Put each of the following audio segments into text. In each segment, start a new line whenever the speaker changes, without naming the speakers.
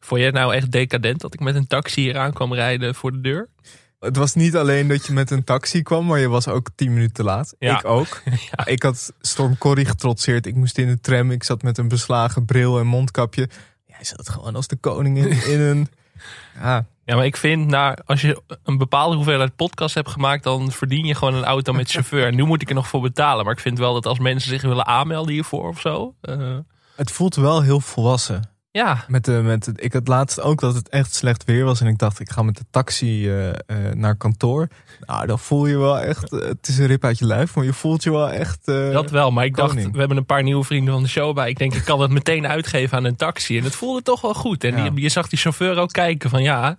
Vond je het nou echt decadent dat ik met een taxi hier aan kwam rijden voor de deur?
Het was niet alleen dat je met een taxi kwam, maar je was ook tien minuten te laat.
Ja.
Ik ook.
Ja.
Ik had Storm Corrie getrotseerd. Ik moest in de tram. Ik zat met een beslagen bril en mondkapje. Jij zat gewoon als de koning in, in een... Ja,
Ja, maar ik vind, nou, als je een bepaalde hoeveelheid podcast hebt gemaakt, dan verdien je gewoon een auto met chauffeur. Nu moet ik er nog voor betalen. Maar ik vind wel dat als mensen zich willen aanmelden hiervoor of zo. eh,
het voelt wel heel volwassen.
ja,
Met de, met het, ik had laatst ook dat het echt slecht weer was. En ik dacht, ik ga met de taxi eh, eh, naar kantoor. Nou, dan voel je wel echt... eh, het is een rip uit je lijf, maar je voelt je wel echt... eh,
dat wel. Maar ik dacht,
koning.
we hebben een paar nieuwe vrienden van de show bij. Ik denk, ik kan dat meteen uitgeven aan een taxi. En het voelde toch wel goed. En
Ja.
die- je zag die chauffeur ook kijken van ja,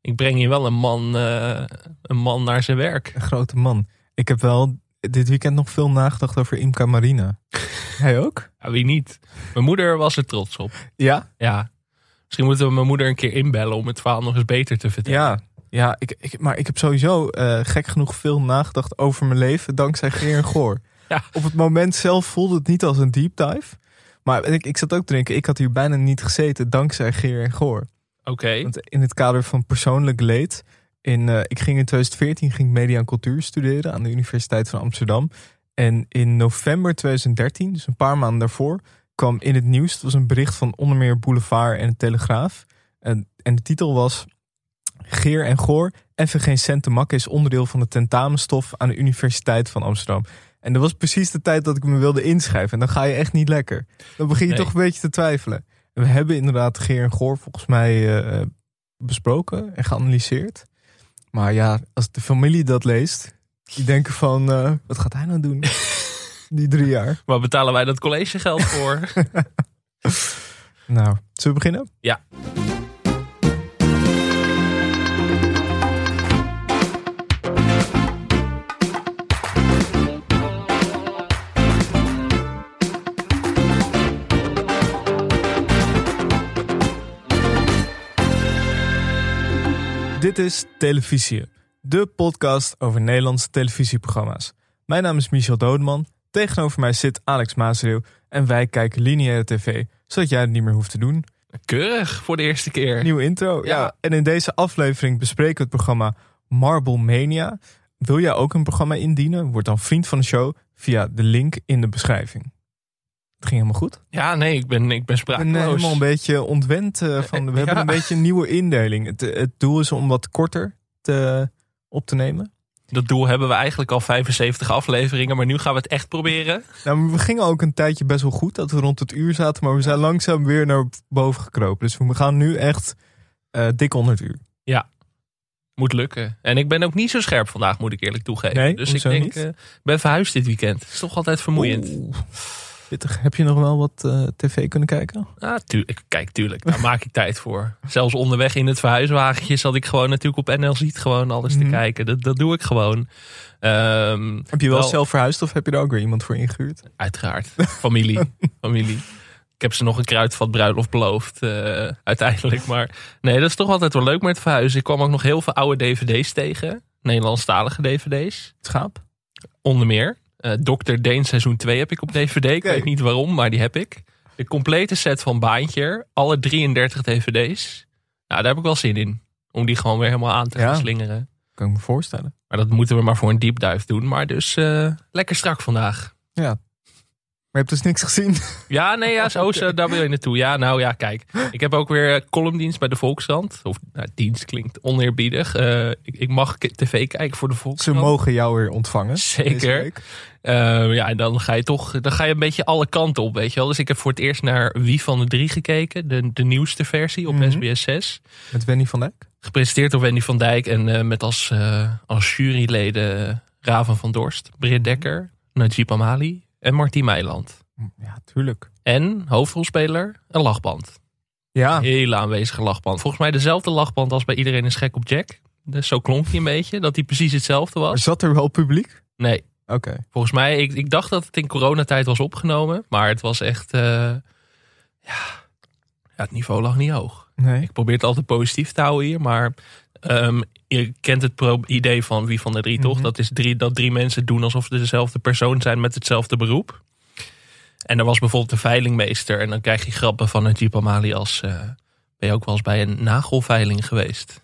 ik breng je wel een man, eh, een man naar zijn werk.
Een grote man. Ik heb wel dit weekend nog veel nagedacht over Imca Marina. Hij ook?
Ja, wie niet? Mijn moeder was er trots op.
Ja.
Ja. Misschien moeten we mijn moeder een keer inbellen om het verhaal nog eens beter te vertellen.
Ja. Ja, ik, ik, maar ik heb sowieso eh, gek genoeg veel nagedacht over mijn leven dankzij Geer en Goor.
Ja.
Op het moment zelf voelde het niet als een deep dive. Maar ik, ik zat ook te denken, ik had hier bijna niet gezeten dankzij Geer en Goor.
Oké.
Want in het kader van persoonlijk leed. In, eh, ik ging in 2014 ging ik media en cultuur studeren aan de Universiteit van Amsterdam. En in november 2013, dus een paar maanden daarvoor, kwam in het nieuws. Het was een bericht van onder meer Boulevard en de Telegraaf. En, en de titel was Geer en Goor. Even geen cent te makken is onderdeel van de tentamenstof aan de Universiteit van Amsterdam. En dat was precies de tijd dat ik me wilde inschrijven. En dan ga je echt niet lekker. Dan begin je
Nee.
toch een beetje te twijfelen. En We hebben inderdaad Geer en Goor volgens mij eh, eh, besproken en geanalyseerd. Maar ja, als de familie dat leest, die denken van, eh, wat gaat hij nou doen? Die drie jaar.
Waar betalen wij dat collegegeld voor?
Nou, zullen we beginnen?
Ja.
Dit is Televisie, de podcast over Nederlandse televisieprogramma's. Mijn naam is Michel Dodeman, tegenover mij zit Alex Maasreeuw en wij kijken lineaire tv, zodat jij het niet meer hoeft te doen.
Keurig voor de eerste keer.
Nieuwe intro. Ja.
Ja.
En in deze aflevering bespreken we het programma Marble Mania. Wil jij ook een programma indienen? Word dan vriend van de show via de link in de beschrijving. Het ging helemaal goed.
Ja, nee, ik ben, ik ben
Ik ben eh,
sprakeloos.
helemaal een beetje ontwend eh, van. We
Eh,
hebben
ja.
een beetje een nieuwe indeling. Het, het doel is om wat korter te, op te nemen.
Dat doel hebben we eigenlijk al 75 afleveringen, maar nu gaan we het echt proberen.
Nou, maar we gingen ook een tijdje best wel goed dat we rond het uur zaten, maar we zijn langzaam weer naar boven gekropen. Dus we gaan nu echt eh, dik onder het uur.
Moet lukken. En ik ben ook niet zo scherp vandaag, moet ik eerlijk toegeven.
Nee,
dus ik
hoezo
denk,
niet?
eh, ik ben verhuisd dit weekend. Het is toch altijd vermoeiend.
Oeh. Pittig. Heb je nog wel wat eh, tv kunnen kijken?
Ah, tuurlijk. Kijk, tuurlijk. Daar maak ik tijd voor. Zelfs onderweg in het verhuiswagentje zat ik gewoon natuurlijk op NL Ziet gewoon alles
Mhm.
te kijken. Dat, dat doe ik gewoon. Ehm,
Heb je wel,
Wel.
zelf verhuisd of heb je er ook weer iemand voor ingehuurd?
Uiteraard. Familie. Familie. Ik heb ze nog een kruidvat bruiloft beloofd. eh, uiteindelijk. Maar nee, dat is toch altijd wel leuk met verhuizen. Ik kwam ook nog heel veel oude dvd's tegen. Nederlandstalige dvd's.
Schaap?
Onder meer. eh Dr. Deen seizoen 2 heb ik op dvd. Ik
Oké.
weet niet waarom, maar die heb ik. De complete set van Baantje. Alle 33 dvd's. Nou, daar heb ik wel zin in. Om die gewoon weer helemaal aan te gaan
Ja.
slingeren.
Kan ik me voorstellen.
Maar dat moeten we maar voor een deep dive doen. Maar dus eh, lekker strak vandaag.
Maar je hebt dus niks gezien.
Ja, nee, ja, zo, zo, daar wil je naartoe. Ja, nou ja, kijk. Ik heb ook weer eh, columndienst bij de Volkskrant. Of nou, dienst klinkt oneerbiedig. Eh, ik, ik mag k- tv kijken voor de
Ze
Volkskrant.
mogen jou weer ontvangen. deze
Zeker.
week.
Eh, ja, en dan ga je toch dan ga je een beetje alle kanten op, weet je wel. Dus ik heb voor het eerst naar Wie van de Drie gekeken. De, de nieuwste versie op
Mhm.
SBS 6.
Met Wendy van Dijk.
Gepresenteerd door Wendy van Dijk. En eh, met als, eh, als juryleden eh, Raven van Dorst, Britt Dekker, Najib Amali en Martien Meiland.
Mm, Ja, tuurlijk.
En hoofdrolspeler, een lachband.
Ja,
Hele aanwezige lachband. Volgens mij dezelfde lachband als bij Iedereen is gek op Jack. Dus zo klonk hij een beetje, dat hij precies hetzelfde
maar
was.
zat er wel publiek?
Nee,
Oké.
volgens mij, ik, ik dacht dat het in coronatijd was opgenomen. Maar het was echt, eh, ja, ja, het niveau lag niet hoog.
Nee.
Ik probeer het altijd positief te houden hier, maar... ehm, je kent het pro- idee van wie van de drie, toch?
Mhm.
Dat is drie, dat drie mensen doen alsof ze dezelfde persoon zijn met hetzelfde beroep. En er was bijvoorbeeld de veilingmeester. En dan krijg je grappen van een Jeep Amali als... eh, Ben je ook wel eens bij een nagelveiling geweest?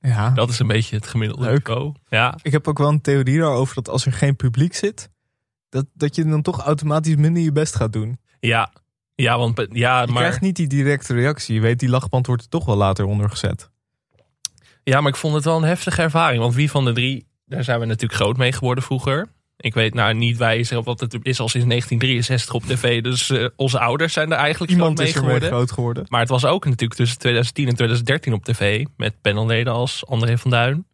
Ja.
Dat is een beetje het gemiddelde
Leuk.
niveau. Ja,
Ik heb ook wel een theorie daarover dat als er geen publiek zit, dat, dat je dan toch automatisch minder je best gaat doen.
ja. Ja, want, be- ja,
Je
maar,
krijgt niet die directe reactie. Je weet, die lachband wordt er toch wel later onder gezet.
ja, maar ik vond het wel een heftige ervaring. Want wie van de drie, daar zijn we natuurlijk groot mee geworden vroeger. Ik weet nou niet wijzen, want het is al sinds 1963 op tv. Dus eh, onze ouders zijn er eigenlijk
Iemand
groot
is
mee
ermee
geworden.
groot geworden.
Maar het was ook natuurlijk tussen 2010 en 2013 op tv. Met panelleden als André van Duin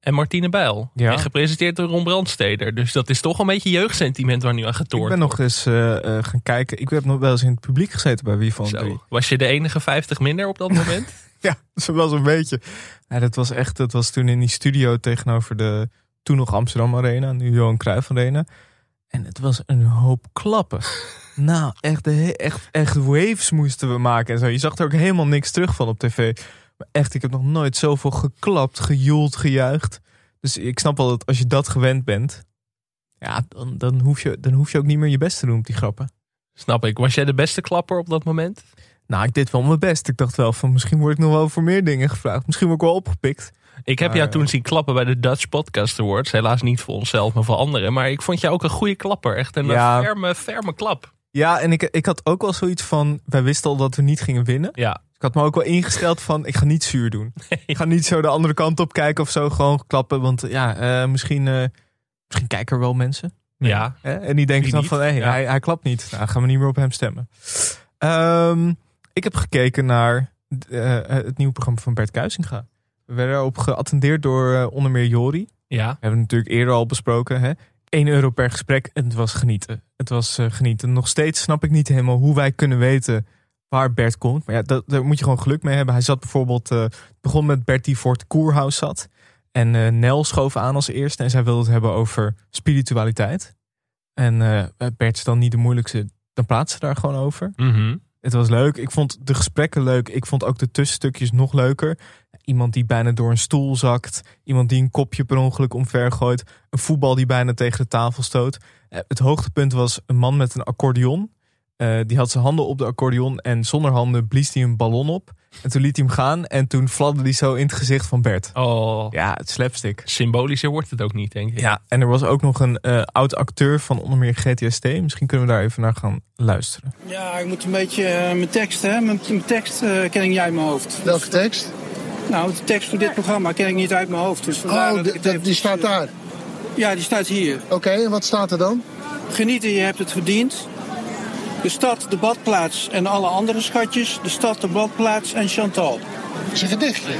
en Martine Bijl.
Ja.
En gepresenteerd door Ron Brandsteder. Dus dat is toch een beetje jeugdsentiment waar nu aan
Ik
getoord
ben nog eens eh, eh, gaan kijken. Ik heb nog wel eens in het publiek gezeten bij Wie van de
wordt.
Drie.
Zo. Was je de enige 50 minder op dat moment?
Ja, zo was een beetje. Ja, dat was echt, dat was toen in die studio tegenover de toen nog Amsterdam Arena, nu Johan Cruijff Arena. En het was een hoop klappen. nou, echt, de he- echt, echt waves moesten we maken en zo. Je zag er ook helemaal niks terug van op tv. Maar echt, ik heb nog nooit zoveel geklapt, gejoeld, gejuicht. Dus ik snap wel dat als je dat gewend bent, ja, dan, dan, hoef, je, dan hoef je ook niet meer je best te doen op die grappen.
Snap ik. Was jij de beste klapper op dat moment?
Nou, ik deed wel mijn best. Ik dacht wel van misschien word ik nog wel voor meer dingen gevraagd. Misschien word ik wel opgepikt.
Ik heb
Maar,
jou
eh,
toen zien klappen bij de Dutch Podcast Awards. Helaas niet voor onszelf, maar voor anderen. Maar ik vond jou ook een goede klapper. Echt een
Ja.
eh, ferme, ferme klap.
Ja, en ik, ik had ook wel zoiets van, wij wisten al dat we niet gingen winnen.
Ja.
Ik had me ook wel ingesteld van, ik ga niet zuur doen. Ik ga niet zo de andere kant op kijken of zo, gewoon klappen. Want ja, eh, misschien, eh, misschien kijken er wel mensen.
Ja.
Hè? En die denken
Wie
dan
niet?
van, hé,
Ja.
hij, hij klapt niet. Nou, gaan we niet meer op hem stemmen. Ehm, ik heb gekeken naar eh, het nieuwe programma van Bert Kuisinga. We werden erop geattendeerd door eh, onder meer Jori.
Ja.
We hebben het natuurlijk eerder al besproken. Hè? 1 euro per gesprek. En het was genieten. Het was eh, genieten. Nog steeds snap ik niet helemaal hoe wij kunnen weten waar Bert komt. Maar ja, dat, daar moet je gewoon geluk mee hebben. Hij zat bijvoorbeeld... eh, het begon met Bert die voor het koerhuis zat. En eh, Nel schoof aan als eerste. En zij wilde het hebben over spiritualiteit. En eh, Bert is dan niet de moeilijkste. Dan praat ze daar gewoon over.
Mhm.
Het was leuk. Ik vond de gesprekken leuk. Ik vond ook de tussenstukjes nog leuker. Iemand die bijna door een stoel zakt. Iemand die een kopje per ongeluk omver gooit. Een voetbal die bijna tegen de tafel stoot. Eh, Het hoogtepunt was een man met een accordeon. Eh, die had zijn handen op de accordeon en zonder handen blies hij een ballon op. En toen liet hij hem gaan en toen fladde hij zo in het gezicht van Bert.
Oh.
Ja, het slapstick.
Symbolischer wordt het ook niet, denk ik.
Ja, en er was ook nog een eh, oud acteur van onder meer GTST. Misschien kunnen we daar even naar gaan luisteren.
Ja, ik moet een beetje eh, mijn tekst, hè? Mijn, mijn tekst eh, ken ik niet uit mijn hoofd.
Welke tekst?
Nou, de tekst voor dit programma ken ik niet uit mijn hoofd. Dus vandaar
Oh,
dat
d-
ik het
dat-
even-
die staat daar.
Ja, die staat hier.
Oké, en wat staat er dan?
Genieten, je hebt het verdiend. De stad, de badplaats en alle andere schatjes. De stad, de badplaats en Chantal.
Het is een gedichtje.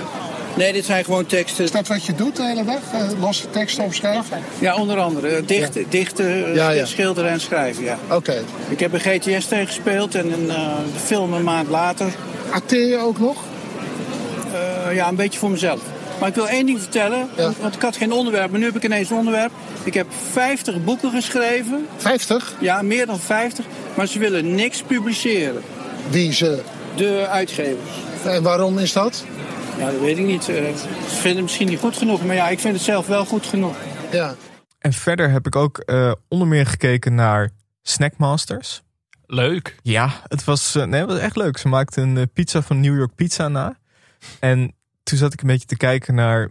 Nee, dit zijn gewoon teksten.
Is dat wat je doet de hele dag? Eh, losse teksten opschrijven?
Ja, onder andere. eh, Dicht, Dichten, eh,
Ja, ja.
schilderen en schrijven, ja.
Oké.
Ik heb een GTS gespeeld en een eh, de film een maand later.
Acteer je ook nog?
Eh, ja, een beetje voor mezelf. Maar ik wil één ding vertellen,
Ja.
want ik had geen onderwerp, maar nu heb ik ineens een onderwerp. Ik heb 50 boeken geschreven,
50?
ja, meer dan 50, maar ze willen niks publiceren,
Wie ze.
de uitgevers.
En waarom is dat?
Ja, dat weet ik niet. eh, Ze vinden het misschien niet goed genoeg, maar ja, ik vind het zelf wel goed genoeg.
Ja.
En verder heb ik ook eh, onder meer gekeken naar Snackmasters.
Leuk.
Ja. Het was, eh, nee, het was echt leuk. Ze maakte een eh, pizza van New York Pizza na. En toen zat ik een beetje te kijken naar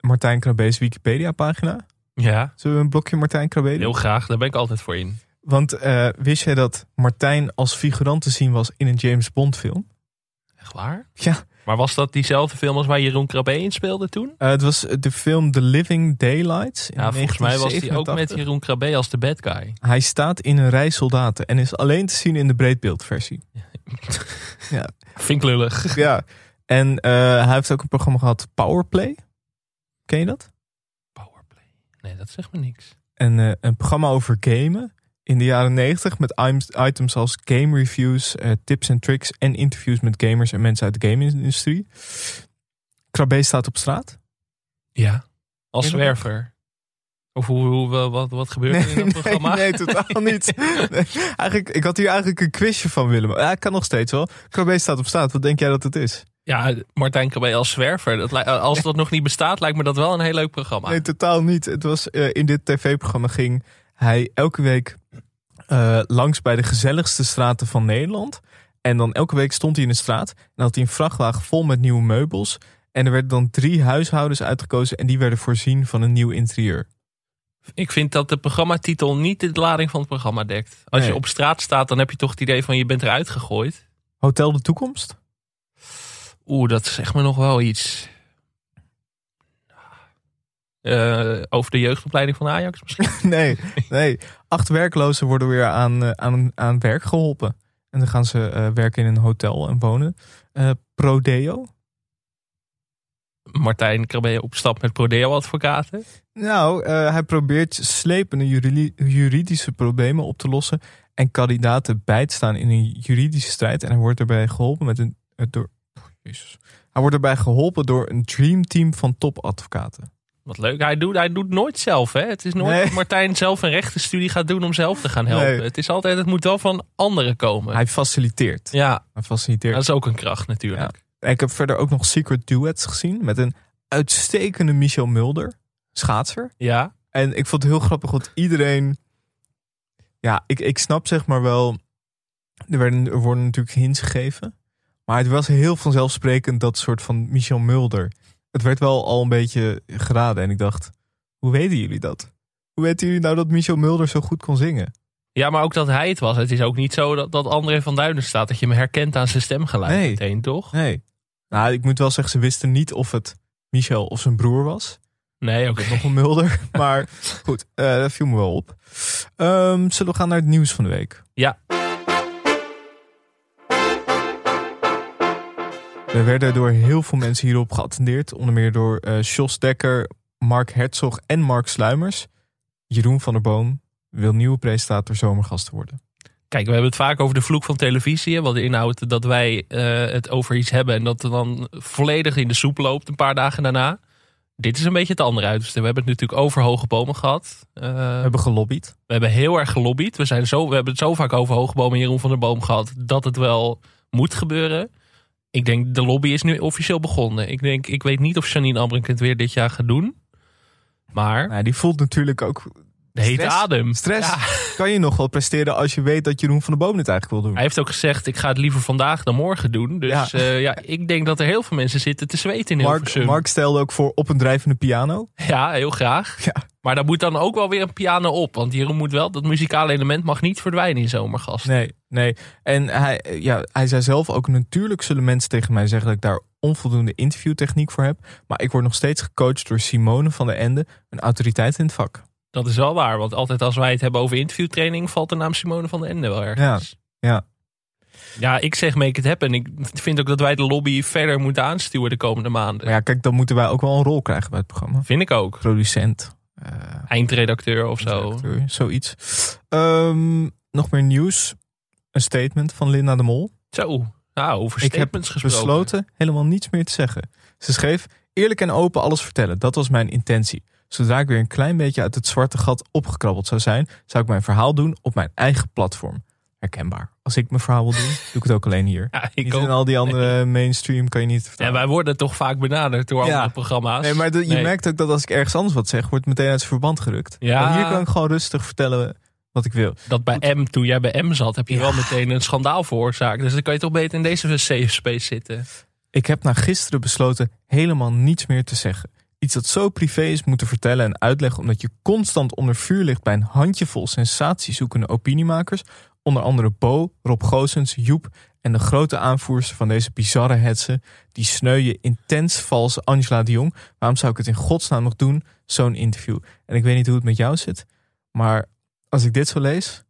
Martijn Krabe's Wikipedia pagina.
Ja.
Zullen we een blokje Martijn Krabbe doen?
Heel graag. Daar ben ik altijd voor in.
Want eh, wist jij dat Martijn als figurant te zien was in een James Bond film?
Echt waar?
Ja.
Maar was dat diezelfde film als waar Jeroen Krabbe in speelde toen?
Eh, het was eh, de film The Living Daylights. in
Ja, volgens mij was hij ook
1987.
met Jeroen Krabbe als de bad guy.
Hij staat in een rij soldaten en is alleen te zien in de breedbeeldversie.
Vind ik lullig.
Ja. En eh, hij heeft ook een programma gehad, Powerplay. Ken je dat?
Powerplay. Nee, dat zegt me niks.
En, eh, een programma over gamen in de jaren 90 met im- items als game reviews, eh, tips en tricks en interviews met gamers en mensen uit de game-industrie. Krabbe staat op straat.
Ja. Als
Ken je dat
zwerver. Of hoe, hoe, wel, wat, wat gebeurt er in dat programma?
nee, totaal niet. Nee, eigenlijk, ik had hier eigenlijk een quizje van willen. maken. Ja, ik kan nog steeds wel. Krabbe staat op straat. Wat denk jij dat het is?
Ja, Martijn Krabbe als zwerver. Dat, lij- als dat nog niet bestaat, lijkt me dat wel een heel leuk programma.
Nee, totaal niet. Het was eh, in dit tv-programma ging hij elke week eh, langs bij de gezelligste straten van Nederland. En dan elke week stond hij in de straat en had hij een vrachtwagen vol met nieuwe meubels. En er werden dan drie huishoudens uitgekozen en die werden voorzien van een nieuw interieur.
Ik vind dat de programmatitel niet de lading van het programma dekt. Als je
Nee.
op straat staat, dan heb je toch het idee van je bent eruit gegooid.
Hotel de Toekomst?
Oeh, dat zegt me nog wel iets. Eh, over de jeugdopleiding van Ajax misschien.
nee, nee. Acht werklozen worden weer aan, eh, aan, aan werk geholpen. En dan gaan ze eh, werken in een hotel en wonen. Eh, Prodeo?
Martijn Krabbe op stap met Prodeo-advocaten.
Nou, eh, hij probeert slepende juri- juridische problemen op te lossen. En kandidaten bij te staan in een juridische strijd. En hij wordt daarbij geholpen met een. eh, door, Jezus. Hij wordt daarbij geholpen door een dreamteam van topadvocaten.
Wat leuk. Hij doet, hij doet nooit zelf. Hè? Het is nooit
Nee.
dat Martijn zelf een rechtenstudie gaat doen om zelf te gaan helpen.
Nee.
Het is altijd, het moet wel van anderen komen.
Hij faciliteert.
Ja,
Hij faciliteert.
dat is ook een kracht natuurlijk.
En ik heb verder ook nog Secret Duets gezien met een uitstekende Michel Mulder, schaatser.
Ja,
En ik vond het heel grappig, want iedereen... Ja, ik, ik snap zeg maar wel... Er, werden, er worden natuurlijk hints gegeven. Maar het was heel vanzelfsprekend dat soort van Michel Mulder. Het werd wel al een beetje geraden. En ik dacht, hoe weten jullie dat? Hoe weten jullie nou dat Michel Mulder zo goed kon zingen?
ja. maar ook dat hij het was. Het is ook niet zo dat, dat André van Duinen staat. Dat je hem herkent aan zijn stemgeluid
Nee.
meteen, toch?
Nee. Nou, ik moet wel zeggen, ze wisten niet of het Michel of zijn broer was.
Nee, oké.
Ik heb nog een Mulder. Maar goed, eh, dat viel me wel op. Ehm, zullen we gaan naar het nieuws van de week?
Ja.
We werden door heel veel mensen hierop geattendeerd. Onder meer door eh Jos Dekker, Mark Herzog en Mark Sluimers. Jeroen van der Boom wil nieuwe presentator zomergasten worden.
Kijk, we hebben het vaak over de vloek van televisie. hè, Wat inhoudt dat wij eh, het over iets hebben en dat het dan volledig in de soep loopt een paar dagen daarna. Dit is een beetje het andere uiterste. We hebben het natuurlijk over hoge bomen gehad. Eh,
We hebben gelobbyd.
we hebben heel erg gelobbyd. We, zijn zo, we hebben het zo vaak over hoge bomen en Jeroen van der Boom gehad dat het wel moet gebeuren. Ik denk, de lobby is nu officieel begonnen. Ik denk, ik weet niet of Janine Ambrink het weer dit jaar gaat doen. Maar
Nou, die voelt natuurlijk ook
de hete
stress.
adem.
stress.
Ja.
Kan je nog wel presteren als je weet dat Jeroen van der Boom het eigenlijk wil doen?
Hij heeft ook gezegd, ik ga het liever vandaag dan morgen doen. Dus ja,
Ja.
ja ik denk dat er heel veel mensen zitten te zweten in
Mark,
Hilversum.
Mark stelde ook voor op een drijvende piano.
Ja, heel graag.
Ja.
Maar daar moet dan ook wel weer een piano op. Want Jeroen moet wel, dat muzikale element mag niet verdwijnen in Zomergast.
Nee, nee. En hij, eh, ja, hij zei zelf ook: natuurlijk zullen mensen tegen mij zeggen dat ik daar onvoldoende interviewtechniek voor heb. Maar ik word nog steeds gecoacht door Simone van der Ende, een autoriteit in het vak.
Dat is wel waar, want altijd als wij het hebben over interviewtraining... valt de naam Simone van den Ende wel ergens.
Ja,
Ja, ik zeg make it happen. Ik vind ook dat wij de lobby verder moeten aansturen de komende maanden.
Maar ja, kijk, dan moeten wij ook wel een rol krijgen bij het programma.
Vind ik ook.
Producent. eh,
Eindredacteur of zo.
directeur, Zoiets. Ehm, nog meer nieuws. Een statement van Linda de Mol.
Zo, nou, over
Ik heb
statements gesproken.
besloten helemaal niets meer te zeggen. Ze schreef: Eerlijk en open alles vertellen, dat was mijn intentie. Zodra ik weer een klein beetje uit het zwarte gat opgekrabbeld zou zijn, zou ik mijn verhaal doen op mijn eigen platform. Herkenbaar. Als ik mijn verhaal wil doen, doe ik het ook alleen hier.
Ja, ik
Niet
ook.
in al die andere mainstream kan je niet vertellen.
En wij worden toch vaak benaderd door
Ja.
andere programma's.
Nee, maar de- je
Nee.
merkt ook dat als ik ergens anders wat zeg, wordt het meteen uit zijn verband gerukt.
Ja.
Want hier kan ik gewoon rustig vertellen wat ik wil.
Dat bij M, toen jij bij M zat, heb je
Ja.
wel meteen een schandaal veroorzaakt. Dus dan kan je toch beter in deze safe space zitten.
Ik heb na gisteren besloten helemaal niets meer te zeggen. Iets dat zo privé is moeten vertellen en uitleggen omdat je constant onder vuur ligt bij een handjevol sensatiezoekende opiniemakers. Onder andere Bo, Rob Goossens, Joep en de grote aanvoerster van deze bizarre hetsen. Die sneuwe, intens valse Angela de Jong. Waarom zou ik het in godsnaam nog doen? Zo'n interview. En ik weet niet hoe het met jou zit, maar als ik dit zo lees,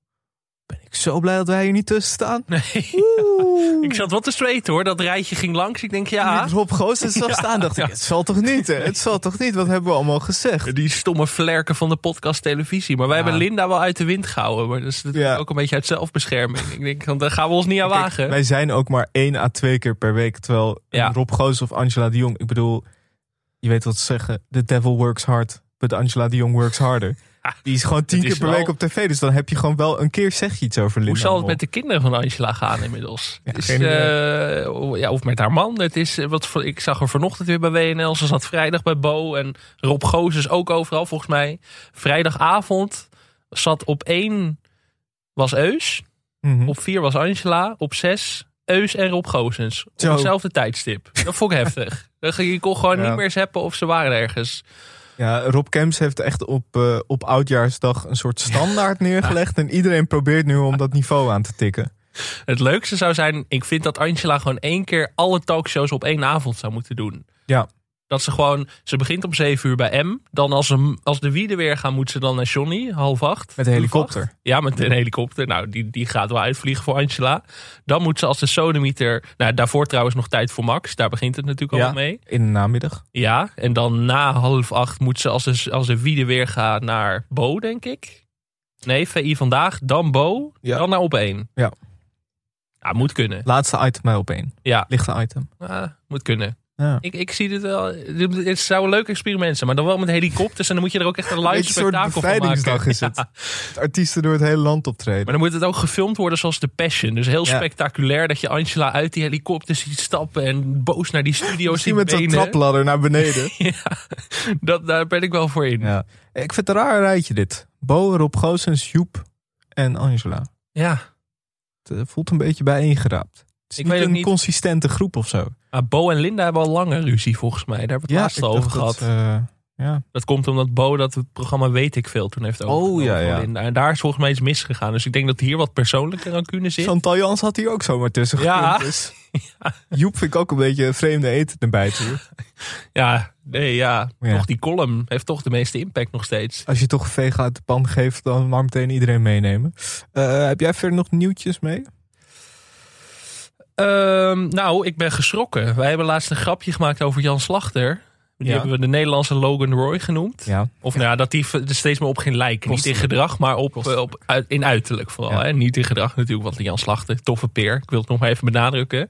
ben ik zo blij dat wij hier niet tussen staan.
Nee.
Oeh.
Ik zat wat te zweten hoor. Dat rijtje ging langs. Ik denk, ja,
Toen ik Rob Goossens zag staan, dacht ik, het zal toch niet, hè? Het zal toch niet, wat hebben we allemaal gezegd?
die stomme vlerken van de podcast televisie. Maar wij
Ja.
hebben Linda wel uit de wind gehouden. Maar dus dat is
Ja.
ook een beetje uit zelfbescherming. Ik denk, want daar gaan we ons niet aan
Kijk,
wagen.
wij zijn ook maar één à twee keer per week, terwijl een
Ja.
Rob Goossens of Angela de Jong, ik bedoel, je weet wat ze zeggen, the devil works hard, but Angela de Jong works harder.
Ja,
Die is gewoon tien
het is
keer per
wel-
week op tv, dus dan heb je gewoon wel een keer zeg je iets over Linda.
Hoe zal het
Mol.
met de kinderen van Angela gaan inmiddels?
Ja,
Het is,
geen idee.
eh, ja, of met haar man. Het is, eh, wat, voor- ik zag haar vanochtend weer bij WNL. Ze zat vrijdag bij Bo. En Rob Gozes ook overal volgens mij. Vrijdagavond zat op één was Eus.
Mhm.
Op vier was Angela. Op zes Eus en Rob Gozens. Op
Zo.
hetzelfde tijdstip. Dat vond ik heftig. Dan ging- Je kon gewoon
Ja.
niet meer zappen of ze waren ergens.
Ja, Rob Kemps heeft echt op, eh, op oudjaarsdag een soort standaard neergelegd. En iedereen probeert nu om dat niveau aan te tikken.
Het leukste zou zijn, ik vind dat Angela gewoon één keer alle talkshows op één avond zou moeten doen.
Ja.
Dat ze gewoon, ze begint om zeven uur bij M. Dan als, ze, als de wieden weer gaan, moet ze dan naar Johnny, half acht.
Met een helikopter.
Ja, met een helikopter. Nou, die, die gaat wel uitvliegen voor Angela. Dan moet ze als de sonemieter... Nou, daarvoor trouwens nog tijd voor Max. Daar begint het natuurlijk
Ja.
al mee.
In de namiddag.
Ja, en dan na half acht moet ze als de, als de wiede weer gaan naar Bo, denk ik. Nee, VI vandaag, dan Bo,
Ja.
dan naar op één.
Ja.
Ja, moet kunnen.
Laatste item mij op één.
Ja,
Lichte item.
ah, moet kunnen.
Ja.
Ik, ik zie dit wel. dit- Het zou een leuk experiment zijn, maar dan wel met helikopters. En dan moet je er ook echt een live
Beetje een soort
spektakel van
bevrijdingsdag
maken.
is het. Artiesten door het hele land optreden.
Maar dan moet het ook gefilmd worden zoals The Passion. Dus heel
Ja.
spectaculair dat je Angela uit die helikopter ziet stappen en boos naar die studio
Misschien
ziet
met zo'n
benen.
trapladder naar beneden.
Ja, dat, daar ben ik wel voor in.
ja. Ik vind het een raar rijtje dit. Bo, Rob Goossens, Joep en Angela.
ja.
Het eh, voelt een beetje bijeengeraapt. Het is
Ik
niet
weet ook
een
niet-
consistente groep of zo.
Maar Ah, Bo en Linda hebben al lange ruzie volgens mij. Daar hebben we het laatst
ik
al over
dacht
gehad.
dat,
Dat,
eh, ja,
komt omdat Bo dat programma Weet ik veel toen heeft overgenomen
Oh, ja,
van
ja.
Linda. En daar is volgens mij iets misgegaan. Dus ik denk dat hier wat persoonlijke rancune zit.
Chantal Jans had hier ook zomaar tussen
Ja.
gekund, Dus. Joep vind ik ook een beetje een vreemde eten erbij toe.
Ja, nee, ja.
Ja.
Toch die column heeft toch de meeste impact nog steeds.
Als je toch veeg uit de pan geeft, dan maar meteen iedereen meenemen. Eh, heb jij verder nog nieuwtjes mee?
Ehm, nou, ik ben geschrokken. Wij hebben laatst een grapje gemaakt over Jan Slachter. Die
Ja.
hebben we de Nederlandse Logan Roy genoemd.
Ja.
Of nou ja, dat die er steeds meer op ging lijken. Niet in
Kostelijk.
gedrag, maar op, eh,
Kostelijk.
op, uit- in uiterlijk vooral.
Ja.
Hè? Niet in gedrag natuurlijk, want Jan Slachter, toffe peer. Ik wil het nog maar even benadrukken.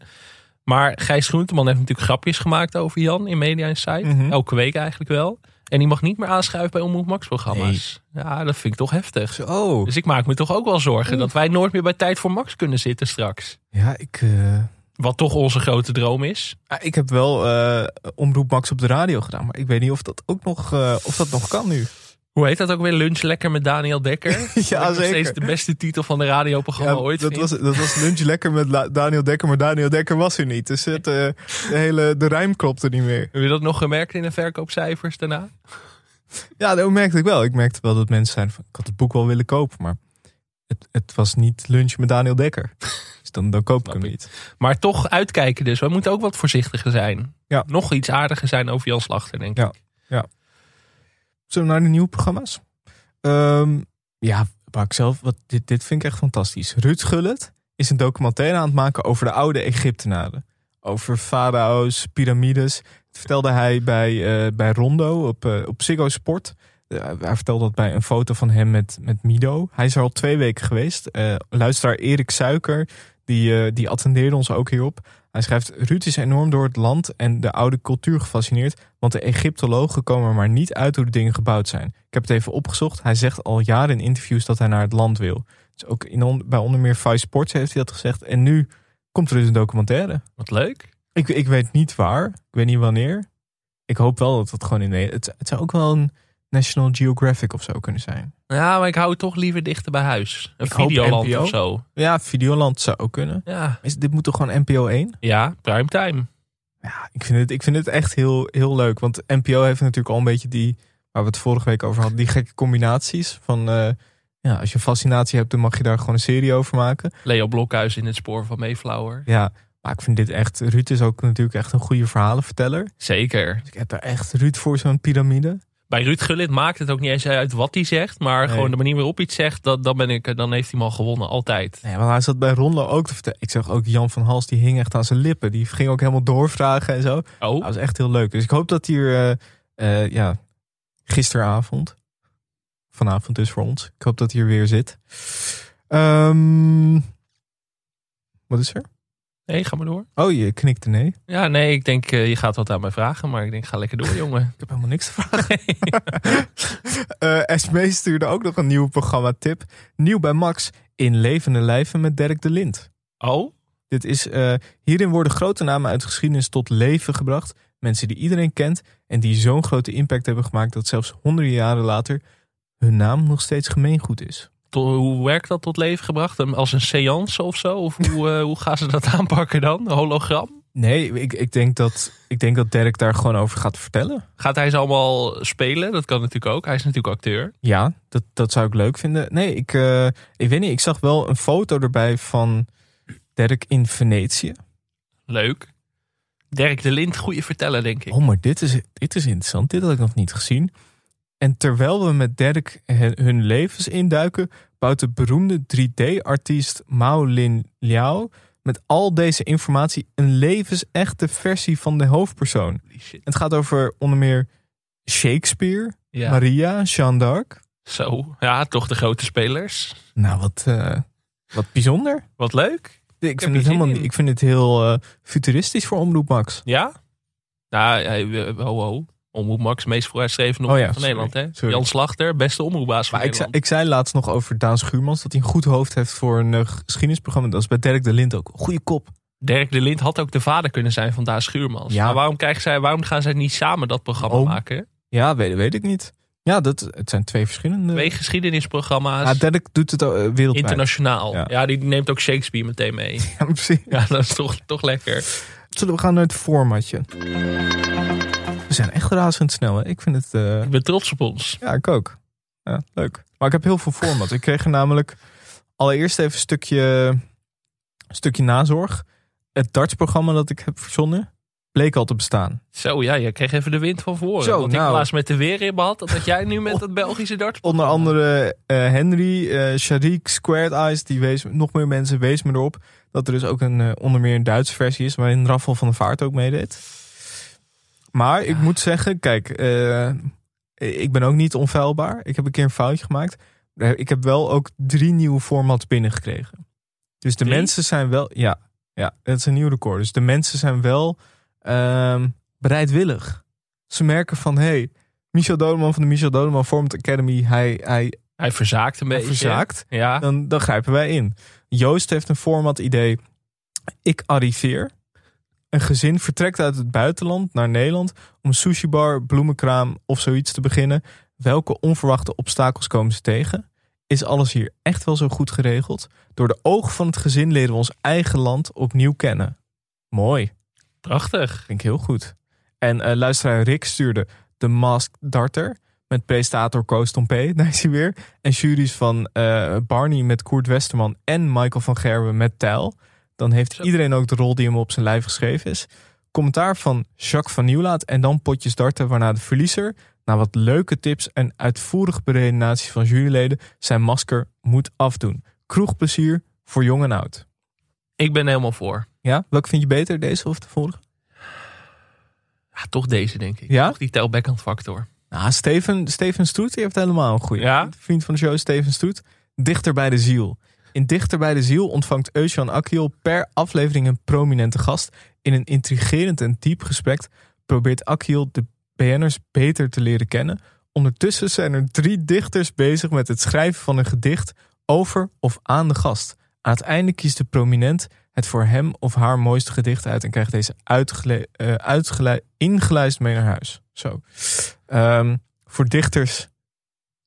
Maar Gijs Groenteman heeft natuurlijk grapjes gemaakt over Jan in Media Insight.
Mhm.
Elke week eigenlijk wel. En die mag niet meer aanschuiven bij Omroep Max programma's. Ja, dat vind ik toch heftig.
Zo. Mm.
Dus ik maak me toch ook wel zorgen dat wij nooit meer bij Tijd voor Max kunnen zitten straks.
Ja, ik, eh,
Wat toch onze grote droom is.
ah, ik heb wel eh, Omroep Max op de radio gedaan. Maar ik weet niet of dat ook nog, eh, of dat nog kan nu.
Hoe heet dat ook weer? Lunch Lekker met Daniel Dekker. Wat ik nog
zeker.
steeds de beste titel van de radioprogramma ooit
dat,
vind.
was, dat was lunch lekker met La- Daniel Dekker, maar Daniel Dekker was er niet. Dus het, eh, de hele de rijm klopte niet meer.
Heb je dat nog gemerkt in de verkoopcijfers daarna?
Ja, dat merkte ik wel. Ik merkte wel dat mensen zijn van, ik had het boek wel willen kopen, maar het, het was niet lunch met Daniel Dekker. Dus dan, dan koop ik
Snap
hem
ik.
niet.
Maar toch uitkijken dus. We moeten ook wat voorzichtiger zijn.
Ja.
Nog iets aardiger zijn over Jan Slachter, denk ik.
Ja. Zullen we naar de nieuwe programma's? Ehm, ja, waar ik zelf, wat, dit, dit vind ik echt fantastisch. Ruud Gullet is een documentaire aan het maken over de oude Egyptenaren. Over farao's, piramides. Dat vertelde hij bij, eh, bij Rondo op, eh, op Ziggo Sport. Eh, hij vertelde dat bij een foto van hem met, met Mido. Hij is er al twee weken geweest. Eh, luisteraar Erik Suiker, die, eh, die attendeerde ons ook hierop. Hij schrijft, Ruud is enorm door het land en de oude cultuur gefascineerd. Want de Egyptologen komen er maar niet uit hoe de dingen gebouwd zijn. Ik heb het even opgezocht. Hij zegt al jaren in interviews dat hij naar het land wil. Dus ook in on- bij onder meer Vice Sports heeft hij dat gezegd. En nu komt er dus een documentaire.
Wat leuk.
Ik, ik weet niet waar. Ik weet niet wanneer. Ik hoop wel dat het gewoon in Nederland... Het, het zou ook wel een National Geographic of zo kunnen zijn.
Ja, maar ik hou het toch liever dichter bij huis. Een
Ik hoop
videoland
NPO.
of zo.
Ja, Videoland zou ook kunnen.
Ja,
Is, dit moet toch gewoon NPO 1?
ja primetime.
Ja, ik vind het, ik vind het echt heel, heel leuk. Want NPO heeft natuurlijk al een beetje die, waar we het vorige week over hadden, die gekke combinaties. Van eh, ja, als je een fascinatie hebt, dan mag je daar gewoon een serie over maken.
Leo Blokhuis in het spoor van Mayflower.
Ja, maar ik vind dit echt, Ruud is ook natuurlijk echt een goede verhalenverteller.
Zeker.
Dus ik heb daar echt Ruud voor zo'n piramide.
Bij Ruud Gullit maakt het ook niet eens uit wat hij zegt. Maar
Nee.
gewoon de manier waarop hij het zegt, dat, dan, ben ik, dan heeft hij hem al gewonnen. Altijd.
Nee, want hij zat bij Rondo ook te vertellen. Ik zag ook Jan van Hals, die hing echt aan zijn lippen. Die ging ook helemaal doorvragen en zo.
Oh,
Dat was echt heel leuk. Dus ik hoop dat hier, eh, eh, ja, gisteravond, vanavond dus voor ons. Ik hoop dat hij er weer zit. Ehm, wat is er?
nee, ga maar door.
Oh, je knikte nee.
Ja, nee, ik denk, eh, je gaat wat aan mij vragen. Maar ik denk, ga lekker door, jongen.
Ik heb helemaal niks te vragen. Eh SME stuurde ook nog een nieuw programma tip. Nieuw bij Max, In Levende Lijven met Dirk de Lind.
Oh,
Dit is, eh, hierin worden grote namen uit geschiedenis tot leven gebracht. Mensen die iedereen kent en die zo'n grote impact hebben gemaakt dat zelfs honderden jaren later hun naam nog steeds gemeengoed is.
to- hoe werkt dat tot leven gebracht? Hem Als een seance of zo? Of hoe, eh, hoe gaan ze dat aanpakken dan? Hologram?
Nee, ik, ik, denk dat, ik denk dat Derek daar gewoon over gaat vertellen.
Gaat hij ze allemaal spelen? Dat kan natuurlijk ook. Hij is natuurlijk acteur.
Ja, dat, dat zou ik leuk vinden. Nee, ik, eh, ik weet niet. Ik zag wel een foto erbij van Derek in Venetië.
Leuk. Dirk de Lind, goede verteller, denk ik.
Oh, maar dit is, dit is interessant. Dit had ik nog niet gezien. En terwijl we met Derek he- hun levens induiken, bouwt de beroemde 3D-artiest Mao Lin Liao met al deze informatie een levensechte versie van de hoofdpersoon.
Holy shit.
Het gaat over onder meer Shakespeare,
Ja.
Maria, Jeanne d'Arc.
Zo. Ja, toch de grote spelers.
Nou, wat, eh, wat bijzonder.
Wat leuk.
Ik
heb
vind,
hier
het
zin
helemaal,
in.
niet- ik vind het heel eh, futuristisch voor Omroep Max.
Ja? Nou, ja, eh, ho, ho. Omroep Max, meest vooruitstrevende
Oh ja,
omroep van
sorry,
Nederland. Hè?
sorry.
Jan Slachter, beste omroepbaas van
Maar ik zei,
Nederland.
ik zei laatst nog over Daan Schuurmans dat hij een goed hoofd heeft voor een eh, geschiedenisprogramma. Dat is bij Dirk de Lind ook. Goeie kop.
Dirk de Lind had ook de vader kunnen zijn van Daan Schuurmans.
Ja.
Maar waarom, krijgen zij, waarom gaan zij niet samen dat programma
Oom.
maken?
Ja, weet, weet ik niet. Ja, dat, het zijn twee verschillende.
Twee geschiedenisprogramma's,
ja, Dirk doet het eh, wereldwijd.
internationaal.
Ja.
Ja. die neemt ook Shakespeare meteen mee.
Ja, precies.
Ja, dat is toch, toch lekker.
Zullen we gaan naar het formatje? We zijn echt razend snel. Hè? Ik vind het... eh,
Ik ben trots op ons.
Ja, ik ook. Ja, leuk. Maar ik heb heel veel format. Ik kreeg er namelijk allereerst even een stukje, een stukje nazorg. Het dartsprogramma dat ik heb verzonnen bleek al te bestaan.
Zo, ja, je kreeg even de wind van voren.
Zo,
Wat
nou. Oh.
ik laatst met de weerrib had, dat jij nu met het Belgische dart.
Onder andere eh, Henry, eh Sharik, Squared Eyes, die wees, nog meer mensen wees me erop dat er dus ook een, eh, onder meer een Duitse versie is waarin Raffel van der Vaart ook meedeed. Maar ik moet zeggen, kijk, eh, ik ben ook niet onfeilbaar. Ik heb een keer een foutje gemaakt. Eh, Ik heb wel ook drie nieuwe formats binnengekregen. Dus de
Drie?
mensen zijn wel, ja, ja, dat is een nieuw record. Dus de mensen zijn wel ehm, bereidwillig. Ze merken van, hé, hey, Michel Doleman van de Michel Doleman Format Academy, hij, hij
Hij verzaakt een beetje.
verzaakt
Ja.
dan, dan grijpen wij in. Joost heeft een format idee. Ik arriveer. Een gezin vertrekt uit het buitenland naar Nederland om een sushibar, bloemenkraam of zoiets te beginnen. Welke onverwachte obstakels komen ze tegen? Is alles hier echt wel zo goed geregeld? Door de ogen van het gezin leren we ons eigen land opnieuw kennen. Mooi.
Prachtig.
Vind ik heel goed. En eh, luisteraar Rick stuurde The Mask Darter. Met presentator Koos Tompé, daar is hij weer. En juries van eh, Barney met Koert Westerman en Michael van Gerwen met Tijl. Dan heeft
Zo.
iedereen ook de rol die hem op zijn lijf geschreven is. Commentaar van Jacques van Nieuwlaat en dan potjes darten waarna de verliezer... na wat leuke tips en uitvoerige beredenaties van juryleden... zijn masker moet afdoen. Kroegplezier voor jong en oud.
Ik ben helemaal voor.
Ja, welke vind je beter, deze of de vorige?
Ja, toch deze, denk ik.
Ja?
Toch die telbackhand factor.
Nou, Steven, Steven Stoet die heeft helemaal een goede.
Ja?
Vriend van de show Steven Stoet. Dichter bij de ziel. In Dichter bij de ziel ontvangt Eusjan Akkiel per aflevering een prominente gast. In een intrigerend en diep gesprek probeert Akkiel de BN'ers beter te leren kennen. Ondertussen zijn er drie dichters bezig met het schrijven van een gedicht over of aan de gast. Aan het einde kiest de prominent het voor hem of haar mooiste gedicht uit en krijgt deze uitgele- eh, uitgele- ingeluisterd mee naar huis. Zo. Ehm, voor dichters,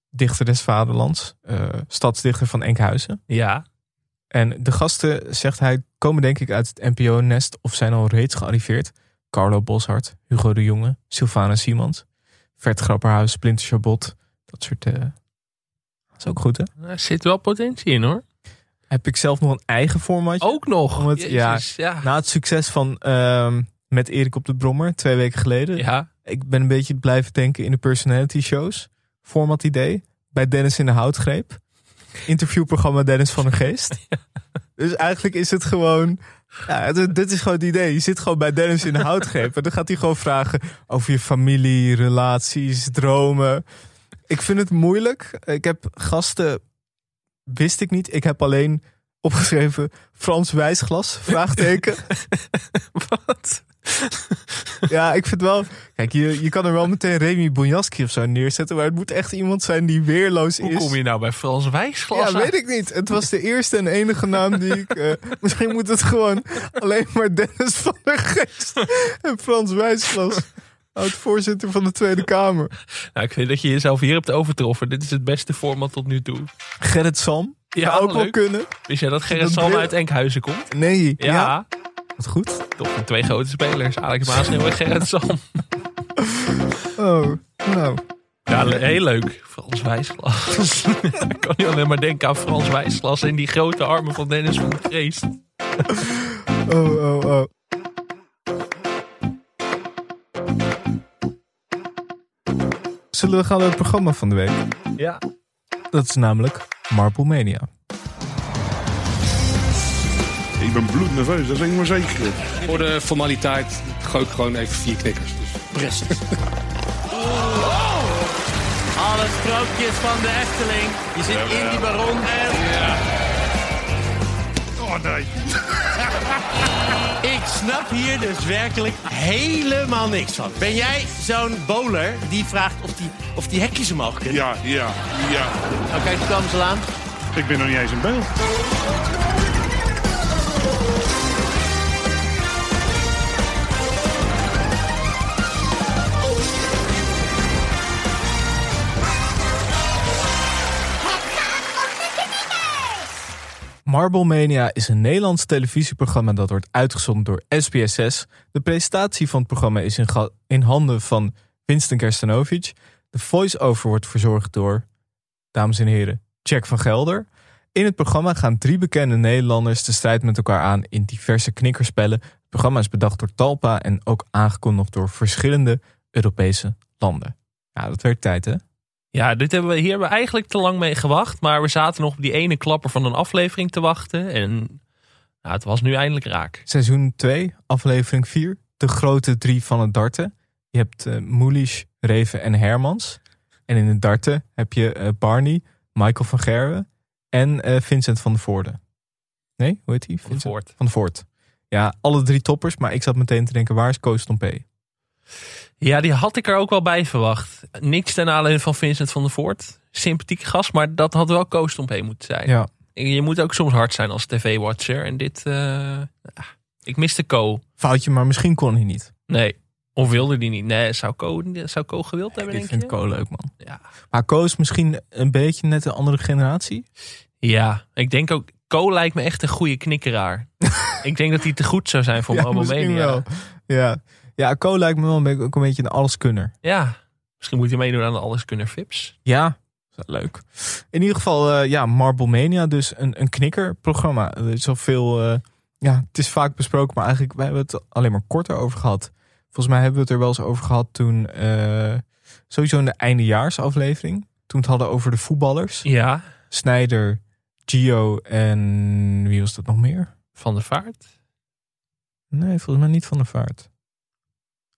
dichter des vaderlands, eh, stadsdichter van Enkhuizen.
Ja.
En de gasten, zegt hij, komen denk ik uit het NPO-nest of zijn al reeds gearriveerd. Carlo Boshart, Hugo de Jonge, Sylvana Simons, Vert Grapperhuis, Splinter Chabot, dat soort... eh, dat is ook goed, hè?
Er zit wel potentie in, hoor.
Heb ik zelf nog een eigen formatje?
Ook nog.
Om het- ja. Nou,
Jezus, ja.
Na het succes van ehm, met Erik op de Brommer, twee weken geleden,
Ja.
ik ben een beetje blijven denken in de personality shows. Format idee. Bij Dennis in de Houtgreep. Interviewprogramma Dennis van de Geest. Dus eigenlijk is het gewoon... Ja, het- dit is gewoon het idee. Je zit gewoon bij Dennis in de Houtgreep. En dan gaat hij gewoon vragen over je familie, relaties, dromen. Ik vind het moeilijk. Ik heb gasten... Wist ik niet. Ik heb alleen opgeschreven Frans Wijsglas, vraagteken.
Wat?
Ja, ik vind wel. Kijk, je, je kan er wel meteen Remy Bonjaski of zo neerzetten. Maar het moet echt iemand zijn die weerloos
Hoe
is.
kom je nou bij Frans Wijsglas?
ja,
uit?
weet ik niet. Het was de eerste en enige naam die ik. eh, misschien moet het gewoon alleen maar Dennis van der Geest en Frans Wijsglas. Oud-voorzitter van de Tweede Kamer.
Nou, ik vind dat je jezelf hier hebt overtroffen. Dit is het beste format tot nu toe.
Gerrit Sam.
Ja,
Zou ook wel
leuk.
kunnen.
Wist jij dat Gerrit
Dat
Salm
bril-
uit Enkhuizen komt?
Nee.
Ja,
Wat goed.
toch. Twee grote spelers. Alex Maasneel en Gerrit Salm.
Oh, nou.
Ja, le- heel leuk. Frans Wijsglas. ik kan nu alleen maar denken aan Frans Wijsglas en die grote armen van Dennis van Geest.
Oh, oh, oh. Zullen we gaan naar het programma van de week?
Ja.
Dat is namelijk Marble Mania.
Ik ben bloednerveus, dat is één maar zeker.
Voor de formaliteit gooi ik gewoon even vier knikkers. Dus.
Oh, Alle sprookjes van de Efteling. Je zit in die baron en...
Oh nee.
Ik snap hier dus werkelijk helemaal niks van. Ben jij zo'n bowler die vraagt of die, of die hekjes omhoog kunnen?
Ja, ja, ja.
Nou, kijk, daar komen ze al aan.
Ik ben nog niet eens in beeld.
Marble Mania is een Nederlands televisieprogramma dat wordt uitgezonden door SBS6. De presentatie van het programma is in, ga- in handen van Winston Kerstanovic. De voice-over wordt verzorgd door, dames en heren, Jack van Gelder. In het programma gaan drie bekende Nederlanders de strijd met elkaar aan in diverse knikkerspellen. Het programma is bedacht door Talpa en ook aangekondigd door verschillende Europese landen. Ja, dat werd tijd, hè?
Ja, dit hebben we, hier hebben we eigenlijk te lang mee gewacht. Maar we zaten nog op die ene klapper van een aflevering te wachten. En nou, het was nu eindelijk raak.
Seizoen 2, aflevering 4. De grote drie van het darten. Je hebt eh Moelisch, Reven en Hermans. En in het darten heb je eh, Barney, Michael van Gerwen en eh, Vincent van der Voorde. Nee, hoe heet die?
Van
Vincent
Voort.
van der Voort. Ja, alle drie toppers. Maar ik zat meteen te denken, waar is Koos Tompé?
Ja, die had ik er ook wel bij verwacht. Niks ten aanleiding van Vincent van der Voort. Sympathieke gast, maar dat had wel Koos heen moeten zijn.
Ja.
Je moet ook soms hard zijn als tv-watcher. En dit... eh, ah, ik miste Ko.
Foutje, maar misschien kon hij niet.
Nee. Of wilde die niet? Nee, zou Ko, zou Ko gewild hebben,
Ik
denk
vind
je?
Koos leuk, man.
Ja.
Maar Koos is misschien een beetje net een andere generatie.
Ja, ik denk ook... Ko lijkt me echt een goede knikkeraar. ik denk dat hij te goed zou zijn voor ja,
wel. Ja, ja Koos lijkt me wel een beetje, ook een beetje een alleskunner.
Ja, misschien moet hij meedoen aan de Alleskunner Vips.
Ja, is wel leuk. In ieder geval, eh, ja, Marble Mania, dus een, een knikkerprogramma. Er is al veel, eh, ja, het is vaak besproken, maar eigenlijk wij hebben het alleen maar korter over gehad. Volgens mij hebben we het er wel eens over gehad toen, eh, sowieso in de eindejaarsaflevering. Toen we het hadden over de voetballers.
Ja,
Snijder, Gio en wie was dat nog meer?
Van der Vaart.
Nee, volgens mij niet Van der Vaart.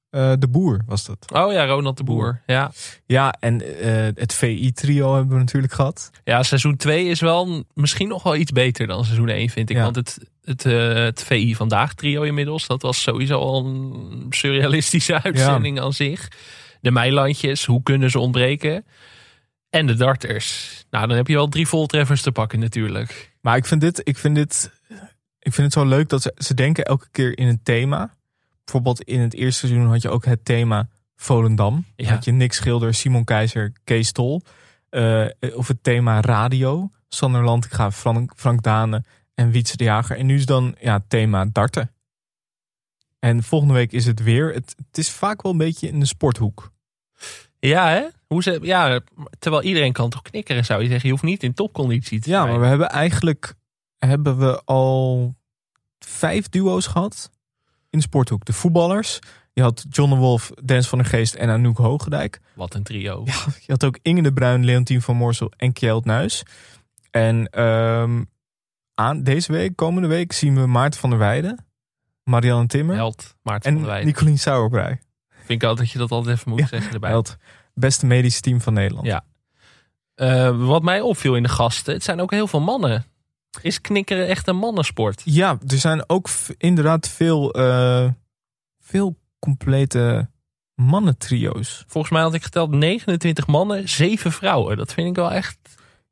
Eh, de Boer was dat.
Oh ja, Ronald de Boer. Ja,
Ja, en eh, het VI-trio hebben we natuurlijk gehad.
ja seizoen 2 is wel m- misschien nog wel iets beter dan seizoen 1, vind ik.
Ja.
Want het, het, eh, het VI Vandaag trio inmiddels, dat was sowieso al een surrealistische uitzending aan zich. De Meilandjes, hoe kunnen ze ontbreken? En de darters. Nou, dan heb je wel drie voltreffers te pakken natuurlijk.
Maar ik vind dit, ik vind dit, ik vind het zo leuk dat ze, ze denken elke keer in een thema. Bijvoorbeeld in het eerste seizoen had je ook het thema Volendam. Dan
Ja.
Had je Nick Schilder, Simon Keizer, Kees Tol. Eh, of het thema radio. Sander Lantinga, Frank, Frank Dane en Wietse de Jager. En nu is dan ja, het thema darten. En volgende week is het weer. Het, het is vaak wel een beetje in de sporthoek.
Ja, hè? Hoe ze, ja, terwijl iedereen kan toch knikkeren, zou je zeggen. Je hoeft niet in topconditie te
Ja,
zijn.
maar we hebben eigenlijk hebben we al vijf duo's gehad in de sporthoek. De voetballers. Je had John de Wolf, Dens van der Geest en Anouk Hoogendijk.
Wat een trio.
Je had ook Inge de Bruin, Leontien van Morsel en Kjeld Nuis. En ehm, aan deze week, komende week, zien we Maarten van der Weijden, Marianne Timmer
Held, Maarten van der
en
Weijden.
Nicolien Sauerbrei.
Vind ik altijd dat je dat altijd even moet
Ja,
zeggen erbij.
Held, beste medisch team van Nederland.
Ja. Eh, wat mij opviel in de gasten, het zijn ook heel veel mannen. Is knikkeren echt een mannensport?
Ja, er zijn ook v- inderdaad veel, eh, veel complete mannentrio's.
Volgens mij had ik geteld 29 mannen, 7 vrouwen. Dat vind ik wel echt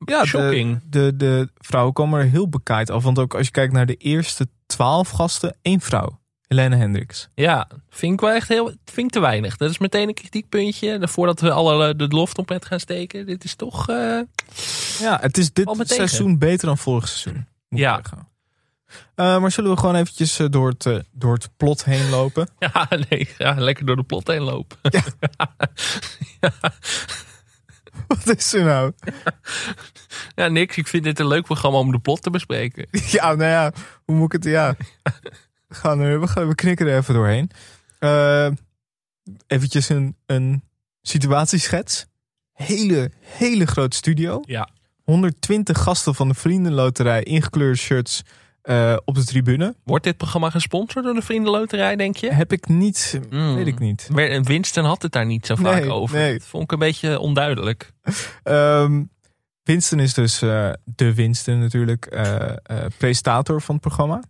Ja, de-
shocking.
De, de vrouwen komen er heel bekaaid af. Want ook als je kijkt naar de eerste twaalf gasten, één vrouw. Helene Hendricks.
Ja, vind ik wel echt heel... Het vind ik te weinig. Dat is meteen een kritiekpuntje. Voordat we alle eh, de lof op het gaan steken. Dit is toch... eh,
Ja, het is dit
Valt me tegen.
seizoen beter dan vorig seizoen. Moet
Ja.
ja. maar zullen we gewoon eventjes eh, door, het, eh, door het plot heen lopen?
Ja, nee, ja, lekker door de plot heen lopen.
Wat is er nou?
Ja, niks. Ik vind dit een leuk programma om de plot te bespreken.
Ja, nou ja, hoe moet ik het? Ja. We, gaan er, we, gaan, we knikken er even doorheen. Eh eventjes een, een situatieschets. Hele, hele grote studio.
Ja.
120 gasten van de Vriendenloterij, ingekleurde shirts eh, op de tribune.
Wordt dit programma gesponsord door de Vriendenloterij, denk je?
Heb ik niet,
Mm.
weet ik niet.
Maar Winston had het daar niet zo vaak
Nee,
over.
nee.
Dat vond ik een beetje onduidelijk.
Ehm Winston is dus eh, de Winston natuurlijk, eh, eh, presentator van het programma.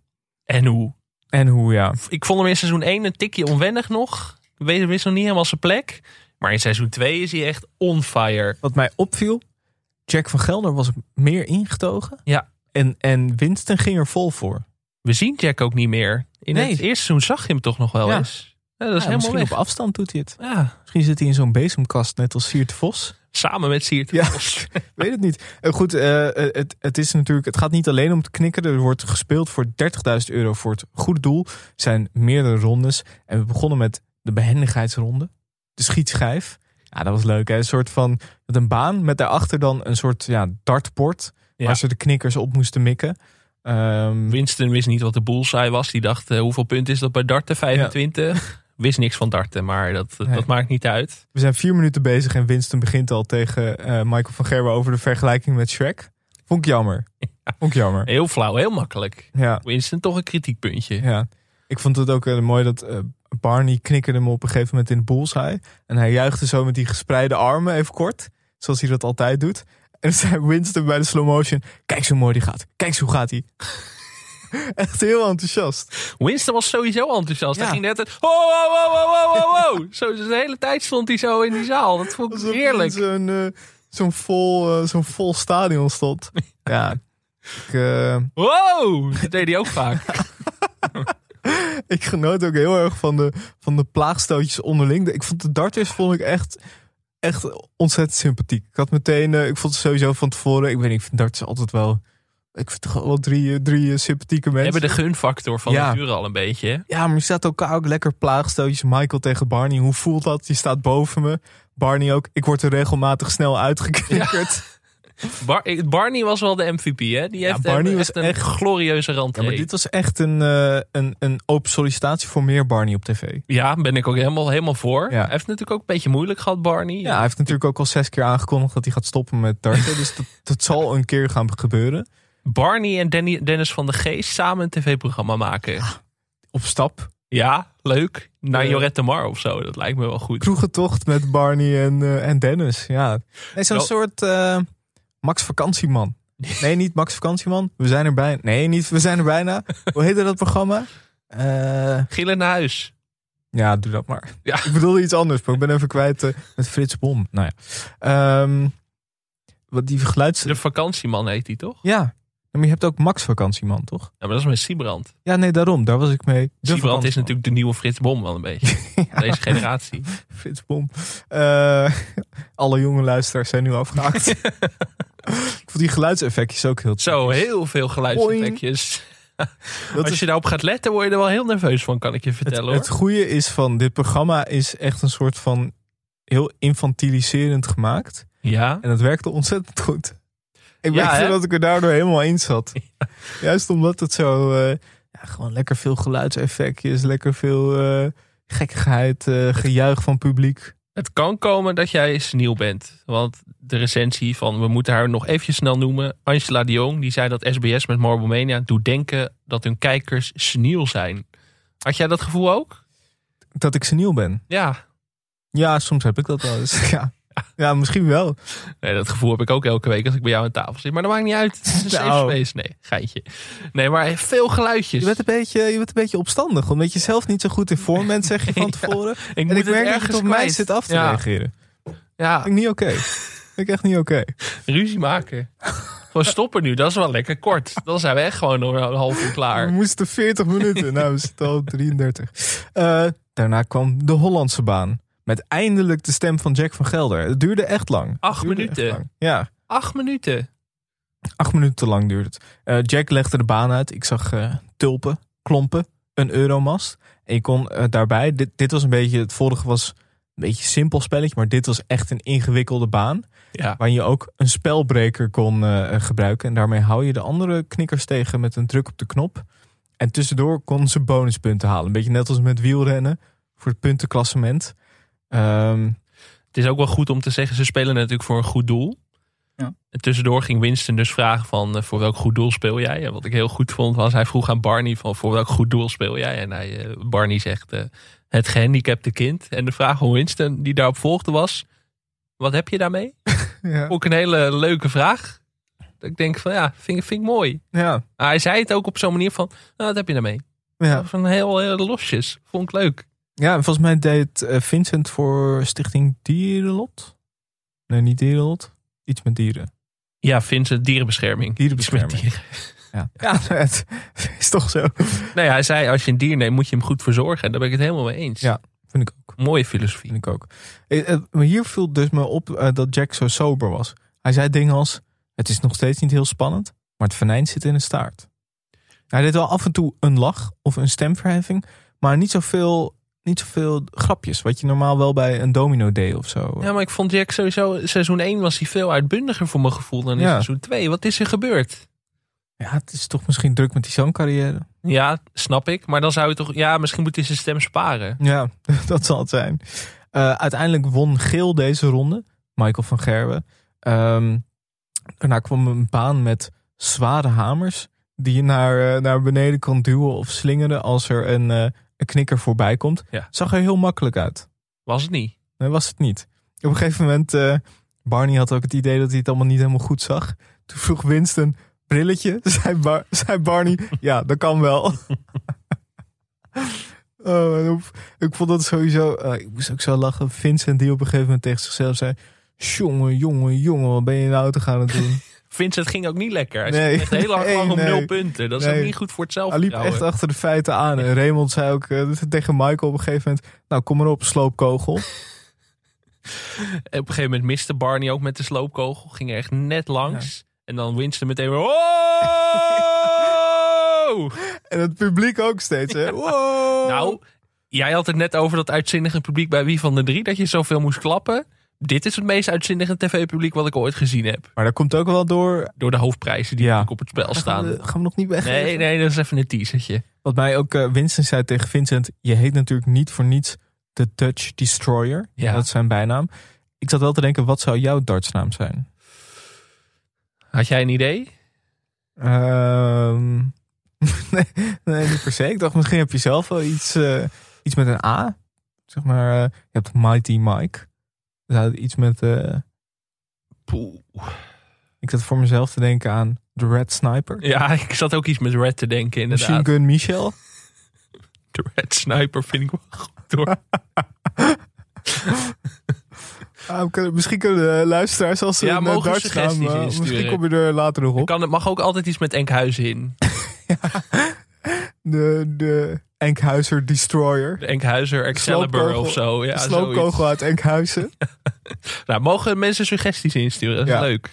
En hoe?
En hoe ja.
Ik vond hem in seizoen 1 een tikje onwennig nog. Weet wist nog niet helemaal zijn plek. Maar in seizoen 2 is hij echt on fire.
Wat mij opviel, Jack van Gelder was meer ingetogen.
Ja.
En, en Winston ging er vol voor.
We zien Jack ook niet meer. In het
Nee.
eerste seizoen zag je hem toch nog wel
Ja.
eens. Ja, dat is
Ja,
helemaal
misschien
weg.
op afstand doet hij het.
Ja,
Misschien zit hij in zo'n bezemkast, net als Siert Vos.
samen met Siert.
Ja. Weet het niet. Eh, goed, eh, eh, het, het, is natuurlijk, het gaat niet alleen om het knikken. Er wordt gespeeld voor 30.000 euro voor het goede doel. Er zijn meerdere rondes. En we begonnen met de behendigheidsronde. De schietschijf. Ja, dat was leuk. Hè? Een soort van met een baan met daarachter dan een soort ja, dartbord.
Ja.
Waar ze de knikkers op moesten mikken. Ehm,
Winston wist niet wat de bullseye was. Die dacht, eh, hoeveel punten is dat bij darten? 25? Wist niks van darten, maar dat, dat,
Nee.
dat maakt niet uit.
we zijn vier minuten bezig en Winston begint al tegen eh, Michael van Gerwen over de vergelijking met Shrek. Vond ik jammer. Vond ik jammer.
Heel flauw, heel makkelijk.
Ja.
Winston toch een kritiekpuntje.
Ja, ik vond het ook eh, mooi dat eh, Barney knikkerde hem op een gegeven moment in de bullseye. En hij juichte zo met die gespreide armen even kort, zoals hij dat altijd doet. En dan zei Winston bij de slow motion, kijk zo mooi die gaat, kijk zo gaat hij. Echt heel enthousiast.
Winston was sowieso enthousiast. Hij
Ja.
ging net het... Ho, ho, ho, ho, ho, ho, ho. Zo de hele tijd stond hij zo in die zaal. Dat vond ik
Alsof hij
heerlijk.
in Zo'n eh, zo'n vol, eh, zo'n vol stadion stond. Ja, ik, eh,
Wow, dat deed hij ook vaak.
ik genoot ook heel erg van de, van de plaagstootjes onderling. Ik vond de darters vond ik echt, echt ontzettend sympathiek. Ik had meteen, eh, ik vond het sowieso van tevoren, ik weet niet, ik vind darters altijd wel, ik vind toch wel drie, eh, drie eh, sympathieke
We
mensen.
hebben de gunfactor van
Ja.
nature al een beetje. hè?
Ja, maar je staat elkaar ook lekker plaagstootjes. Michael tegen Barney, hoe voelt dat? Die staat boven me. Barney ook, ik word er regelmatig snel uitgeknikkerd.
Bar- eh, Barney was wel de MVP, hè? Die
Ja,
heeft
Barney
echt
was
een
echt-
glorieuze rand.
Ja, maar dit was echt een, eh, een, een open sollicitatie voor meer Barney op tv.
Ja, ben ik ook helemaal, helemaal voor.
Ja.
Hij heeft natuurlijk ook een beetje moeilijk gehad, Barney.
Ja, hij heeft natuurlijk ook al zes keer aangekondigd dat hij gaat stoppen met darten. Dus dat, dat zal een keer gaan gebeuren.
Barney en Danny- Dennis van de Geest samen een tv-programma maken.
Op stap.
Ja, leuk. Naar
Eh.
Jorette Mar of zo. Dat lijkt me wel goed.
Kroegentocht met Barney en, eh, en Dennis. Ja. Nee, zo'n
Wel-
soort eh, Max Vakantieman. Nee, niet Max Vakantieman. We zijn er bijna. Nee, niet We zijn er bijna. Hoe heette dat programma? Eh,
Gillen naar huis.
ja, doe dat maar.
Ja.
Ik bedoelde iets anders, maar ik ben even kwijt eh, met Frits Bom. Nou ja. Ehm, wat die geluids...
De vakantieman heet die toch?
Ja. Maar je hebt ook Max Vakantieman, toch?
Ja, maar dat is met Siebrand.
Ja, nee, daarom. Daar was ik mee. De
Siebrand is
vakantieman.
natuurlijk de nieuwe Frits Bom wel een beetje.
Ja.
Deze generatie.
Frits Bom. Eh, alle jonge luisteraars zijn nu afgehaakt. ik vond die geluidseffectjes ook heel
Zo, heel veel geluidseffectjes.
Dat
Als
is-
je daarop gaat letten, word je er wel heel nerveus van, kan ik je
het,
vertellen.
het
hoor.
goede is van dit programma is echt een soort van heel infantiliserend gemaakt.
Ja.
En dat werkte ontzettend goed. Ik
Ja,
merkte
hè?
dat ik er daardoor helemaal in zat. Juist omdat het zo... eh, ja, gewoon lekker veel geluidseffectjes. Lekker veel eh, gekkigheid. eh, gejuich van publiek.
Het kan komen dat jij nieuw bent. Want de recensie van, we moeten haar nog eventjes snel noemen. Angela de Jong, die zei dat SBS met Marble Mania doet denken dat hun kijkers sniel zijn. Had jij dat gevoel ook?
Dat ik seniel ben.
Ja.
Ja, soms heb ik dat wel eens. Ja, ja misschien wel.
Nee, dat gevoel heb ik ook elke week als ik bij jou aan tafel zit. Maar dat maakt niet uit. Het is een safe
Nou.
space. Nee, geitje. Nee, maar veel geluidjes.
Je bent, een beetje, je bent een beetje opstandig. Omdat je zelf niet zo goed in vorm bent, zeg je van
Ja.
tevoren.
Ik moet
en
het
ik merk dat je
ergens
het op mij
kwijt.
zit af te
Ja.
reageren.
Ja,
Vind ik niet oké. Vind ik echt niet oké.
ruzie maken. Gewoon stoppen nu, dat is wel lekker kort. Dan zijn we echt gewoon nog een half uur
We
klaar.
moesten 40 minuten. Nou, we zitten al op 33. Eh, Daarna kwam de Hollandse baan. Met eindelijk de stem van Jack van Gelder. Het duurde echt lang.
Acht
Het duurde echt
minuten.
lang. Ja,
Acht minuten.
acht minuten te lang duurde het. Eh, Jack legde de baan uit. Ik zag eh, tulpen, klompen, een euromast. En je kon eh, daarbij, dit, dit was een beetje, het vorige was een beetje een simpel spelletje. Maar dit was echt een ingewikkelde baan.
Ja.
Waarin je ook een spelbreker kon eh, eh, gebruiken. En daarmee hou je de andere knikkers tegen met een druk op de knop. En tussendoor konden ze bonuspunten halen. Een beetje net als met wielrennen voor het puntenklassement. Ehm,
Het is ook wel goed om te zeggen, ze spelen natuurlijk voor een goed doel.
Ja.
En tussendoor ging Winston dus vragen van eh, voor welk goed doel speel jij? En wat ik heel goed vond was, hij vroeg aan Barney van voor welk goed doel speel jij? En hij, eh, Barney zegt eh, het gehandicapte kind. En de vraag van Winston die daarop volgde was, wat heb je daarmee?
ja.
Ook een hele leuke vraag. Dat Ik denk van ja, vind, vind ik mooi.
ja,
Maar Ah, hij zei het ook op zo'n manier van, nou, wat heb je daarmee?
ja.
Dat was een heel, heel losjes. Vond ik leuk.
Ja, en volgens mij deed eh, Vincent voor Stichting Dierenlot. Nee, niet Dierenlot. Iets met dieren.
Ja, Vincent, dierenbescherming.
Dierenbescherming.
Met dieren.
Ja, ja het is toch zo.
Nee, hij zei als je een dier neemt moet je hem goed verzorgen. En daar ben ik het helemaal mee eens.
Ja. Vind ik ook.
Mooie filosofie.
Vind ik ook. Eh, eh, Maar hier viel dus me op eh, dat Jack zo sober was. Hij zei dingen als: Het is nog steeds niet heel spannend, maar het venijn zit in de staart. Hij deed wel af en toe een lach of een stemverheffing, maar niet zoveel, niet zoveel grapjes. Wat je normaal wel bij een domino deed of zo.
Ja, maar ik vond Jack sowieso... Seizoen 1 was hij veel uitbundiger voor mijn gevoel dan in
Ja.
seizoen 2. Wat is er gebeurd?
Ja, het is toch misschien druk met die zangcarrière.
Ja, snap ik. Maar dan zou je toch... Ja, misschien moet hij zijn stem sparen.
Ja, dat zal het zijn. Eh, uiteindelijk won Geel deze ronde. Michael van Gerwen. Ehm, daarna kwam een baan met zware hamers. Die je naar, eh, naar beneden kon duwen of slingeren als er een, eh, een knikker voorbij komt.
Ja.
Zag er heel makkelijk uit.
Was het niet.
Nee, was het niet. Op een gegeven moment, eh, Barney had ook het idee dat hij het allemaal niet helemaal goed zag. Toen vroeg Winston, brilletje? Zei, Bar- zei Barney, ja, dat kan wel. oh, en op- ik vond dat sowieso, eh, ik moest ook zo lachen. Vincent die op een gegeven moment tegen zichzelf zei... Jongen, jongen, jongen, wat ben je nou te gaan het doen?
Vincent ging ook niet lekker. Hij
Nee.
zat echt heel lang,
Nee,
lang om
nee.
nul punten. Dat is
Nee.
ook niet goed voor het
Hij liep
zelfvertrouwen.
echt achter de feiten aan. En Raymond zei ook eh, tegen Michael op een gegeven moment... Nou, kom maar op, sloopkogel.
En op een gegeven moment miste Barney ook met de sloopkogel. Ging er echt net langs. En dan Winston meteen weer... Oh!
En het publiek ook steeds, hè? Wow.
Nou, jij had het net over dat uitzinnige publiek bij Wie van de Drie. Dat je zoveel moest klappen. Dit is het meest uitzinnige tv-publiek wat ik ooit gezien heb.
Maar dat komt ook wel door...
Door de hoofdprijzen die
Ja.
natuurlijk op het spel
Gaan
staan.
we, gaan we nog niet weg?
Nee, nee, dat is even een teasertje.
Wat mij ook eh, Winston zei tegen Vincent: je heet natuurlijk niet voor niets de Dutch Destroyer.
Ja.
Dat is zijn bijnaam. Ik zat wel te denken, wat zou jouw dartsnaam zijn?
Had jij een idee?
Ehm, nee, nee, niet per se. Ik dacht, misschien heb je zelf wel iets, eh, iets met een A. Zeg maar, eh, je hebt Mighty Mike. Zou het iets met. eh,
Poeh.
ik zat voor mezelf te denken aan de Red Sniper.
Ja, ik zat ook iets met Red te denken
Machine
inderdaad.
Gun Michel.
De Red Sniper vind ik wel goed hoor.
Ah, we kunnen- misschien kunnen de luisteraars als ze
Ja,
een eh,
mogen we
dartsnaam,
suggesties
eh, Misschien
insturen?
kom je er later nog op.
Kan, het mag ook altijd iets met Enkhuizen in.
De, de Enkhuizer Destroyer.
De Enkhuizer Excalibur
sloopkogel-
of zo. Ja,
de
zoiets.
sloopkogel uit Enkhuizen.
Nou, mogen mensen suggesties insturen? Dat is
Ja.
leuk.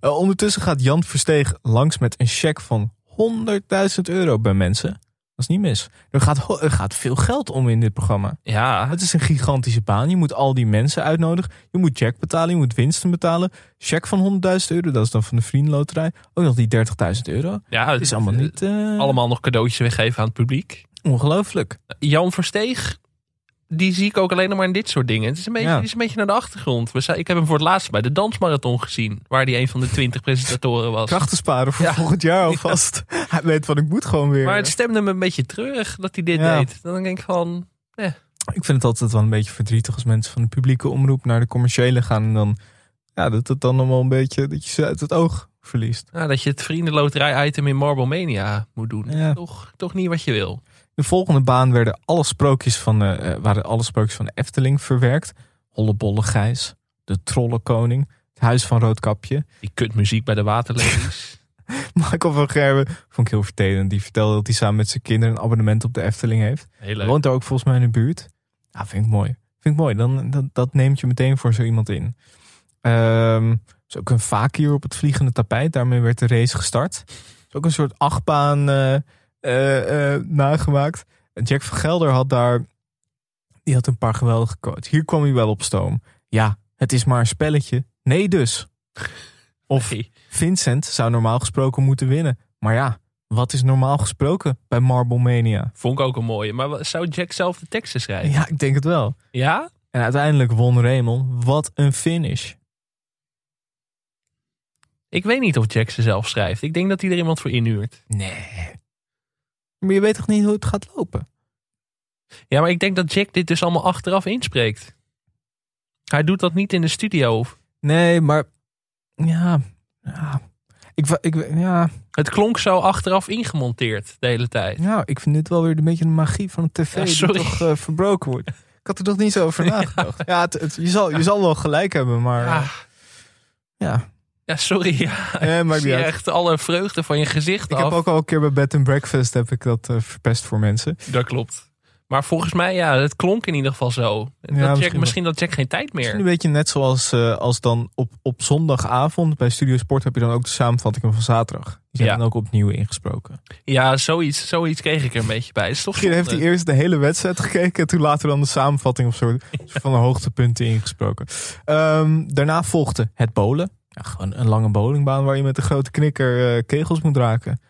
Eh, ondertussen gaat Jan Versteeg langs met een cheque van 100.000 euro bij mensen. Dat is niet mis. Er gaat, ho- er gaat veel geld om in dit programma.
Ja,
Het is een gigantische baan. Je moet al die mensen uitnodigen. Je moet Jack betalen. Je moet winsten betalen. Cheque van 100.000 euro. Dat is dan van de vriendenloterij. Ook nog die 30.000 euro.
ja het
Het is allemaal niet... eh,
Allemaal nog cadeautjes weggeven aan het publiek.
Ongelooflijk.
Jan Versteeg, die zie ik ook alleen nog maar in dit soort dingen. Het is een beetje,
Ja.
die is een beetje naar de achtergrond. We zei, ik heb hem voor het laatst bij de Dansmarathon gezien. Waar hij een van de twintig presentatoren was.
Krachten sparen voor
Ja.
volgend jaar alvast. Hij weet wat ik moet gewoon weer.
Maar het stemde me een beetje treurig dat hij dit
Ja.
deed. Dan denk ik van,
Ik vind het altijd wel een beetje verdrietig als mensen van de publieke omroep naar de commerciële gaan. En dan, ja, dat het dan allemaal een beetje, dat je ze uit het oog verliest.
nou, dat je het vriendenloterij-item in Marble Mania moet doen.
Ja.
Toch, toch niet wat je wil.
De volgende baan werden alle sprookjes van, eh, eh, waren alle sprookjes van de Efteling verwerkt. Hollebolle Gijs, de Trollenkoning, het Huis van Roodkapje.
Die kutmuziek bij de waterlelies.
Michael van Gerwen vond ik heel vertelend. Die vertelde dat hij samen met zijn kinderen een abonnement op de Efteling heeft.
Heel
Hij
leuk.
woont daar ook volgens mij in de buurt. Ja, vind ik mooi. Vind ik mooi. Dan, dat, dat neemt je meteen voor zo iemand in. Ehm er is ook een fakir op het vliegende tapijt. Daarmee werd de race gestart. Er is ook een soort achtbaan eh, eh, eh, nagemaakt. En Jack van Gelder had daar... Die had een paar geweldige quotes. Hier kwam hij wel op stoom. Ja, het is maar een spelletje. Nee dus. Of
Hey.
Vincent zou normaal gesproken moeten winnen. Maar ja, wat is normaal gesproken bij Marble Mania?
Vond ik ook een mooie. Maar wa- zou Jack zelf de teksten schrijven?
Ja, ik denk het wel.
Ja?
En uiteindelijk won Raymond. Wat een finish.
Ik weet niet of Jack ze zelf schrijft. Ik denk dat hij er iemand voor inhuurt.
Nee. Maar je weet toch niet hoe het gaat lopen?
Ja, maar ik denk dat Jack dit dus allemaal achteraf inspreekt. Hij doet dat niet in de studio.
Nee, maar... Ja. Ja. Ik, wa- ik, ja,
Het klonk zo achteraf ingemonteerd de hele tijd.
ja, ik vind dit wel weer een beetje de magie van de tv
Ja,
die
sorry.
toch eh, verbroken wordt. Ik had er toch niet zo over nagedacht. Ja, het, het- je, zal, je zal wel gelijk hebben, maar...
Ja,
eh, Ja.
ja sorry. Ja.
Eh, maakt
Ik
niet
zie
uit.
echt alle vreugde van je gezicht
Ik
af.
heb ook al een keer bij Bed and Breakfast heb ik dat eh, verpest voor mensen.
Dat klopt. Maar volgens mij, ja, het klonk in ieder geval zo. dat Jack,
misschien wel.
misschien, dat Jack geen tijd
Misschien
meer.
een beetje net zoals eh, als dan op, op zondagavond bij Studio Sport heb je dan ook de samenvattingen van zaterdag. Die zijn
Ja.
dan ook opnieuw ingesproken.
Ja, zoiets, zoiets kreeg ik er een beetje bij. Het Is toch
Misschien heeft hij
zonde.
eerst de hele wedstrijd gekeken en toen later dan de samenvatting of soort soort van de hoogtepunten ingesproken. Ehm, daarna volgde het bowlen. Ja, gewoon een lange bowlingbaan waar je met een grote knikker eh, kegels moet raken.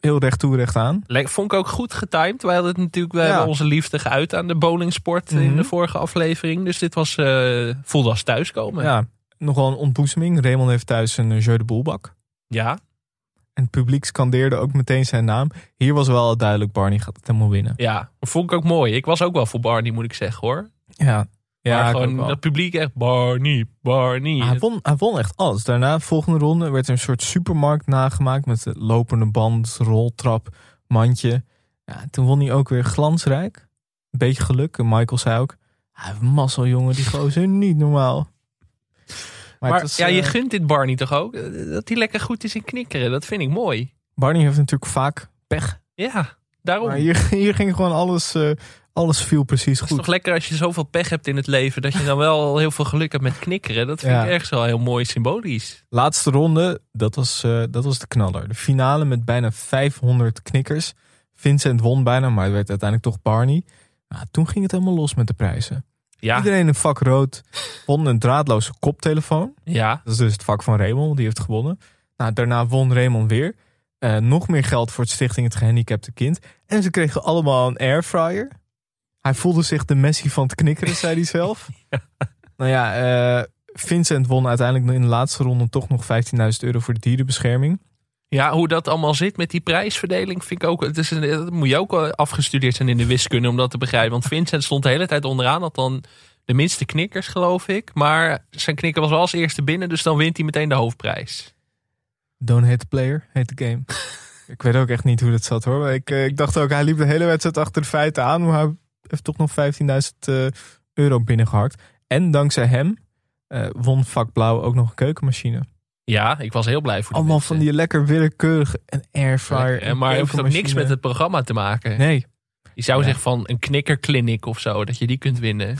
Heel recht toe, recht aan.
Lek- Vond ik ook goed getimed. Wij hadden het natuurlijk wij
Ja.
hebben onze liefde geuit aan de bowlingsport in
Mhm.
de vorige aflevering. Dus dit was eh voelde als thuiskomen. Ja.
Ja, nogal een ontboezeming. Raymond heeft thuis een eh, jeu de boelbak.
ja,
En het publiek scandeerde ook meteen zijn naam. Hier was wel duidelijk, Barney gaat het helemaal winnen.
Vond ik ook mooi. Ik was ook wel voor Barney, moet ik zeggen hoor.
Ja,
Ja,
ja ik ook
gewoon
wel. Ah,
dat publiek echt Barney, Barney.
hij, won, hij won echt alles. Daarna, volgende ronde, werd er een soort supermarkt nagemaakt... met de lopende band, roltrap, mandje. Ja, toen won hij ook weer glansrijk. Een beetje geluk. En Michael zei ook... Hij heeft mazzel, jongen. Die gozer niet normaal. Maar,
maar
het was,
ja, je
eh,
gunt dit Barney toch ook? Eh, Dat hij lekker goed is in knikkeren, dat vind ik mooi.
Barney heeft natuurlijk vaak pech.
Ja, daarom.
Maar hier, hier ging gewoon alles... eh, alles viel precies
Het Oh. is
goed.
toch lekker als je zoveel pech hebt in het leven, dat je dan wel heel veel geluk hebt met knikkeren. Dat vind
Ja.
ik ergens wel heel mooi symbolisch.
Laatste ronde, dat was, eh, dat was de knaller. De finale met bijna 500 knikkers. Vincent won bijna, maar het werd uiteindelijk toch Barney. Nou, toen ging het helemaal los met de prijzen.
Ja,
Iedereen een vak rood. Won een draadloze koptelefoon.
ja.
Dat is dus het vak van Raymond, die heeft gewonnen. Nou, daarna won Raymond weer. Eh, nog meer geld voor het Stichting Het Gehandicapte Kind. En ze kregen allemaal een airfryer. Hij voelde zich de Messi van het knikkeren, zei hij zelf. Nou ja, eh, Vincent won uiteindelijk in de laatste ronde toch nog 15.000 euro voor de dierenbescherming.
Ja, hoe dat allemaal zit met die prijsverdeling vind ik ook. Het is een, dat moet je ook eh, afgestudeerd zijn in de wiskunde om dat te begrijpen. Want Vincent stond de hele tijd onderaan, had dan de minste knikkers, geloof ik. Maar zijn knikker was wel als eerste binnen, dus dan wint hij meteen de hoofdprijs.
Don't hate the player, heet de game. ik weet ook echt niet hoe dat zat hoor. Maar Ik, eh, ik dacht ook, hij liep de hele wedstrijd achter de feiten aan. Maar hij heeft toch nog 15.000 eh, euro binnengehakt. En dankzij hem eh, won vak Blauw ook nog een keukenmachine.
Ja, ik was heel blij voor die
Allemaal
mensen.
van die lekker willekeurige en airfryer.
En maar heeft ook
ook
niks met het programma te maken.
Nee,
Je zou
Ja.
zeggen van een knikkerkliniek of zo, dat je die kunt winnen.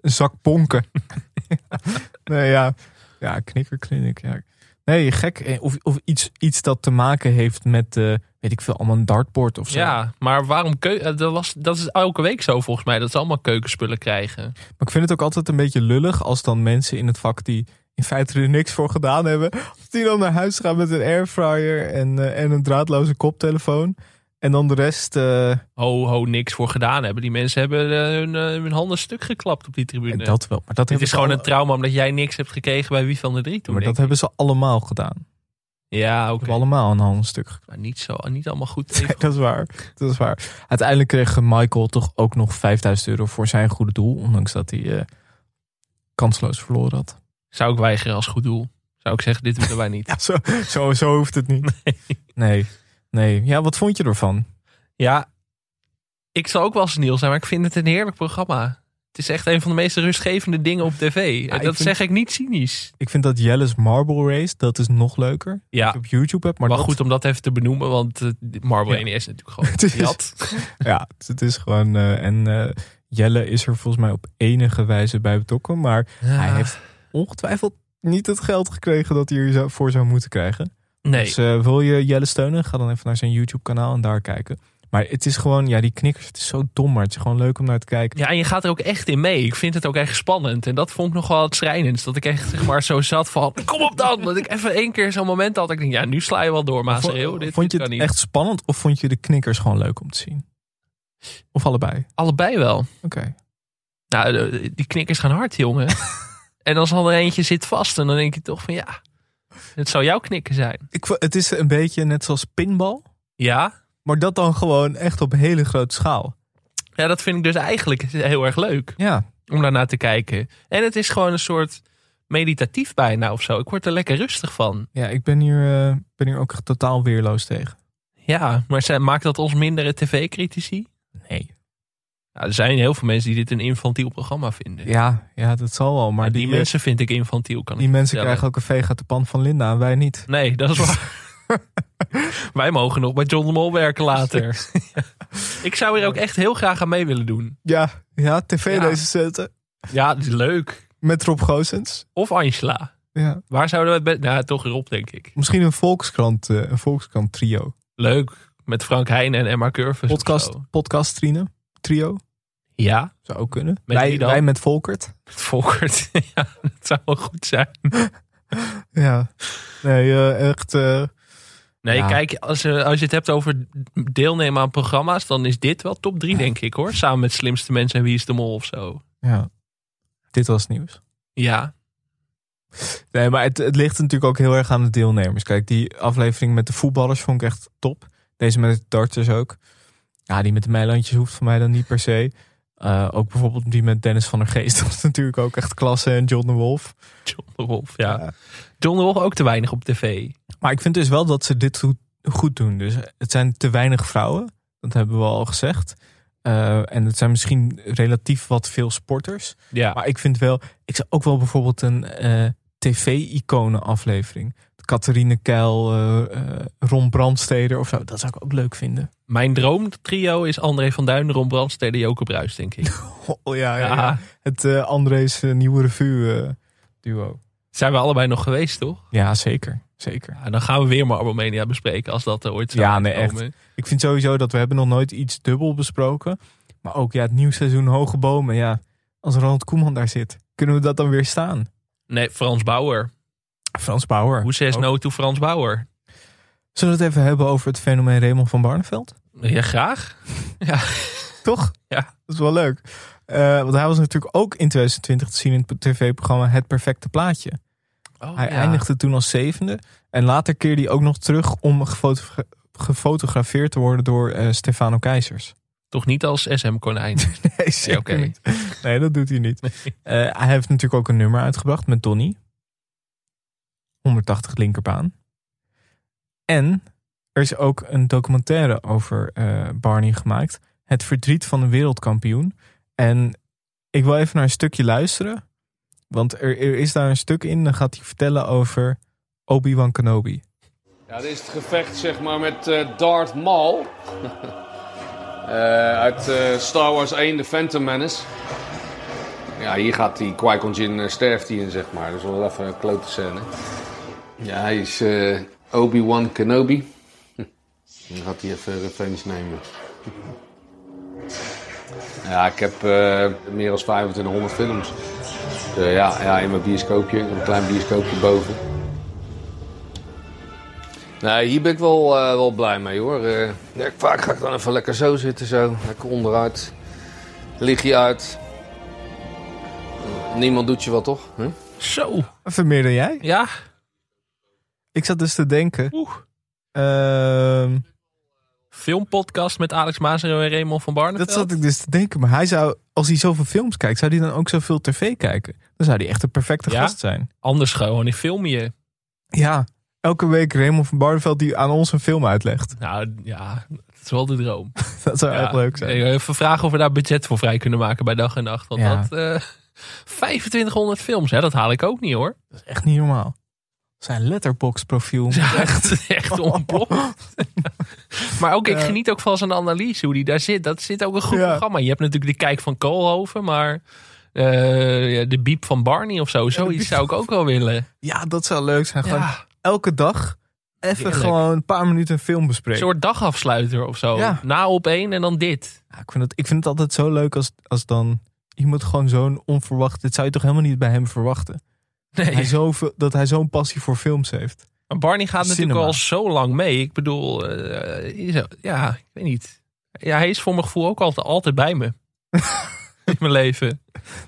een zak bonken. nee, ja. Ja, knikkerkliniek. Ja. Nee, gek. Eh, Of, of iets, iets dat te maken heeft met, eh, weet ik veel, allemaal een dartboard of zo.
Ja, maar waarom keu- eh, dat, was, dat is elke week zo volgens mij, dat ze allemaal keukenspullen krijgen.
Maar ik vind het ook altijd een beetje lullig als dan mensen in het vak die in feite er niks voor gedaan hebben, als die dan naar huis gaan met een airfryer en, eh, en een draadloze koptelefoon. En dan de rest. eh,
ho, ho, niks voor gedaan hebben. Die mensen hebben eh, hun, eh, hun handen stuk geklapt op die
en
tribune.
dat wel. Maar dat
het
hebben
eh, is
ze
gewoon
alle-
een trauma omdat jij niks hebt gekregen bij Wie van de Drie toen.
Maar dat
denk ik.
hebben ze allemaal gedaan. Ze
Ja, oké.
hebben allemaal een handstuk gekregen.
Maar niet, zo, niet allemaal goed.
Nee, dat is waar. Dat is waar. Uiteindelijk kreeg Michael toch ook nog 5000 euro voor zijn goede doel. Ondanks dat hij eh, kansloos verloren had.
Zou ik weigeren als goed doel. Zou ik zeggen, dit willen wij niet.
Ja, zo, zo, zo hoeft het niet. Nee. Nee. Ja, wat vond je ervan?
Ja, ik zal ook wel seniel zijn, maar ik vind het een heerlijk programma. Het is echt een van de meest rustgevende dingen op tv. en
ik
dat
vind-
zeg ik niet cynisch.
Ik vind dat Jelle's Marble Race, dat is nog leuker.
Ja,
Dat je op YouTube hebt, maar,
maar
dat-
Ah. goed om dat even te benoemen, want eh, Marble
Ja.
NES is natuurlijk gewoon
dus Het is-
jat.
Ja, het is gewoon... eh, en eh Jelle is er volgens mij op enige wijze bij betrokken. Maar hij heeft ongetwijfeld niet het geld gekregen dat hij ervoor zou moeten krijgen.
Nee,
Dus eh, wil je Jelle steunen? Ga dan even naar zijn YouTube kanaal en daar kijken. Maar het is gewoon, ja, die knikkers, het is zo dom, maar het is gewoon leuk om naar te kijken.
Ja, en je gaat er ook echt in mee. Ik vind het ook echt spannend. En dat vond ik nog wel het schrijnendst. Dat ik echt zeg maar, zo zat van, kom op dan! Dat ik even één keer zo'n moment had. dat Ik denk, ja, nu sla je wel door,
Vo-
Maasreeuw. Dit,
vond je
dit
het
kan niet.
echt spannend of vond je de knikkers gewoon leuk om te zien? Of allebei?
Allebei wel.
Oké.
Nou, de- die knikkers gaan hard, jongen. en als al er eentje zit vast, en dan denk je toch van, ja, het zou jouw knikken zijn.
Ik vo- Het is een beetje net zoals pinball,
Ja?
maar dat dan gewoon echt op hele grote schaal.
Ja, dat vind ik dus eigenlijk heel erg leuk.
Ja,
Om daarna te kijken. En het is gewoon een soort meditatief bijna of zo. Ik word er lekker rustig van.
ja ik ben hier, eh, ben hier ook echt totaal weerloos tegen.
Ja, maar zij- maakt dat ons mindere tv-critici?
Nee.
Ja, er zijn heel veel mensen die dit een infantiel programma vinden.
Ja, ja dat zal wel, maar
Ja, die,
die, eh,
mensen vind ik infantiel. Kan
die
ik
mensen
vertellen.
krijgen ook een veeg uit de pan van Linda en wij niet.
Nee, dat is waar. Wij mogen nog bij John de Mol werken later. ik zou hier ook echt heel graag aan mee willen doen.
Ja, ja tv
Ja.
deze zetten.
Ja, dat is leuk.
Met Rob Goossens.
Of Angela.
Ja.
Waar zouden we het best... Nou, toch Rob, denk ik.
Misschien een Volkskrant, eh, een Volkskrant trio.
Leuk. Met Frank Heijn en Emma Curvis. of
Podcast,
Dus zo.
podcast trine, trio.
Ja,
Zou ook kunnen.
Met
wij,
wie dan?
wij met Volkert.
met Volkert. ja, dat zou wel goed zijn.
Ja. Nee, eh, echt. eh,
Nee,
Ja.
kijk, als, eh, als je het hebt over deelnemen aan programma's... dan is dit wel top 3, denk ik, hoor. Samen met Slimste Mensen en Wie is de Mol of zo.
ja. Dit was het nieuws.
Ja,
Nee, maar het, het ligt natuurlijk ook heel erg aan de deelnemers. Kijk, die aflevering met de voetballers vond ik echt top. Deze met de darters ook. Ja, die met de meilandjes hoeft voor mij dan niet per se. Eh, ook bijvoorbeeld die met Dennis van der Geest. Dat was natuurlijk ook echt klasse. En John de Wolf.
John de Wolf, ja. John de Wolf ook te weinig op tv.
Maar ik vind dus wel dat ze dit goed- goed doen. Dus het zijn te weinig vrouwen. Dat hebben we al gezegd. Eh, en het zijn misschien relatief wat veel sporters.
Ja.
Maar ik vind wel, ik zou ook wel bijvoorbeeld een eh tv-iconen aflevering. Catharine Keil, eh, eh, Ron Brandsteder of zo. Dat zou ik ook leuk vinden.
Mijn droomtrio is André van Duin, Ron Brandstede, Joke Bruis, denk ik.
Oh ja, ja, ja.
Ja,
het eh, André's eh, nieuwe revue eh, duo.
zijn we allebei nog geweest, toch?
Ja, zeker. Zeker.
Ja, dan gaan we weer Marblemania bespreken, als dat er ooit zou
Ja, nee,
komen.
Ik vind sowieso dat we hebben nog nooit iets dubbel besproken. Maar ook ja, het nieuwseizoen Hoge Bomen. Ja, als Ronald Koeman daar zit, kunnen we dat dan weer staan?
Nee, Frans Bauer.
Frans Bauer.
Hoe says
Ook.
no to Frans Bauer?
Oh. Zullen we het even hebben over het fenomeen Raymond van Barneveld?
Ja, graag.
Toch?
Ja.
Dat is wel leuk. Eh, want hij was natuurlijk ook in 2020 te zien in het tv-programma Het Perfecte Plaatje.
Oh,
Hij
ja.
eindigde toen als zevende. En later keerde hij ook nog terug om gefotogra- gefotografeerd te worden door eh, Stefano Keizers.
Toch niet als SM-konijn.
Nee, zeker
oké.
niet. Nee, dat doet hij niet. Eh, hij heeft natuurlijk ook een nummer uitgebracht met Donny. 180 linkerbaan. En er is ook een documentaire over eh, Barney gemaakt. Het verdriet van de wereldkampioen. En ik wil even naar een stukje luisteren. Want er, er is daar een stuk in. Dan gaat hij vertellen over Obi-Wan Kenobi.
Ja, dit is het gevecht zeg maar met eh Darth Maul. Eh, uit eh, Star Wars 1, The Phantom Menace. Ja, hier gaat die Qui-Gon Jinn, eh, sterft hij in zeg maar. Dat is wel even een klote scène. Ja, hij is eh, Obi-Wan Kenobi. Hm. Dan gaat hij even revenge nemen. Ja, ik heb eh, meer dan 2500 films. Eh, ja, ja, in mijn bioscoopje, een klein bioscoopje boven. Nou, hier ben ik wel, eh, wel blij mee hoor. Eh, ja, vaak ga ik dan even lekker zo zitten, zo. Lekker onderuit. Lig je uit. Niemand doet je wat, toch? Huh?
Zo.
Even meer dan jij.
Ja.
Ik zat dus te denken.
Oeh.
ehm,
Filmpodcast met Alex Mazero en Raymond van Barneveld.
dat zat ik dus te denken. Maar hij zou, als hij zoveel films kijkt, zou hij dan ook zoveel tv kijken? Dan zou hij echt de perfecte
Ja?
gast zijn.
Anders gewoon in film je.
Ja, elke week Raymond van Barneveld die aan ons een film uitlegt.
Nou ja, dat is wel de droom.
Dat zou
Ja,
echt leuk zijn.
ik wil Even vragen of we daar budget voor vrij kunnen maken bij dag en nacht. Want
Ja.
dat, eh 2500 films, hè, dat haal ik ook niet hoor.
Echt niet normaal. Zijn letterbox profiel.
Ja, echt, echt ontploft. maar ook, ik
Ja.
geniet ook van zijn analyse, hoe die daar zit. Dat zit ook een goed
Ja.
programma. Je hebt natuurlijk de kijk van Koolhoven, maar eh, ja, de biep van Barney of zo. Zoiets zou ik ook wel willen.
Ja, dat zou leuk zijn. Gewoon
Ja,
elke dag even
Heerlijk.
gewoon een paar minuten een film
een
bespreken.
soort dagafsluiter of zo.
Ja.
Na op één en dan dit.
Ja, ik, vind het, ik vind het altijd zo leuk als, als dan iemand gewoon zo'n onverwacht... Dit zou je toch helemaal niet bij hem verwachten. Hij
Nee.
zoveel, dat hij zo'n passie voor films heeft.
Maar Barney gaat natuurlijk
Cinema.
al zo lang mee. Ik bedoel, eh, is er- ja, ik weet niet. Ja, hij is voor mijn gevoel ook altijd, altijd bij me. In mijn leven.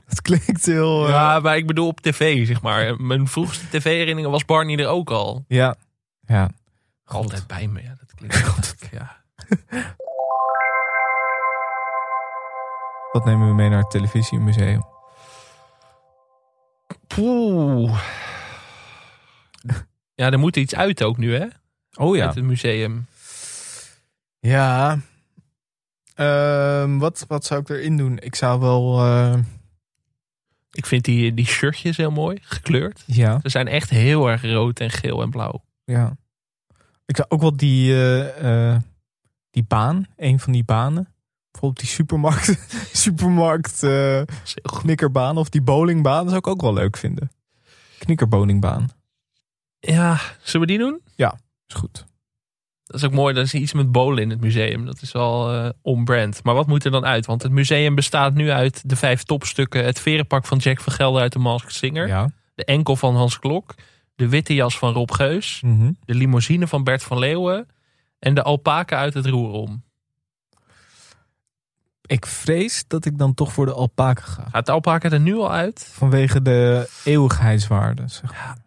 Dat klinkt heel... eh,
Ja, maar ik bedoel op tv, zeg maar. Mijn vroegste tv-herinneringen was Barney er ook al.
ja. ja.
Altijd bij me, ja. Dat klinkt altijd, ja.
Wat nemen we mee naar het televisiemuseum?
Poeh. Ja, er moet iets uit ook nu, hè?
Oh
Uit het museum.
Ja. Ehm, wat, wat zou ik erin doen? Ik zou wel... eh,
Ik vind die, die shirtjes heel mooi, gekleurd.
ja.
Ze zijn echt heel erg rood en geel en blauw.
Ja. Ik zou ook wel die, eh, eh, die baan, een van die banen. Bijvoorbeeld die supermarkt, supermarkt eh,
Dat is heel goed.
knikkerbaan of die bowlingbaan. zou ik ook wel leuk vinden. Knikkerbowlingbaan.
Ja, zullen we die doen?
Is goed.
Dat is ook mooi, dat is iets met bolen in het museum. Dat is wel eh on-brand. Maar wat moet er dan uit? Want het museum bestaat nu uit de vijf topstukken. Het verenpak van Jack van Gelder uit de Masked Singer.
Ja.
De enkel van Hans Klok. De witte jas van Rob Geus.
Mhm.
De limousine van Bert van Leeuwen. En de alpaca uit het roer om.
Ik vrees dat ik dan toch voor de alpaca ga.
Gaat de alpaca er nu al uit?
Vanwege de eeuwigheidswaarde. Zeg. maar.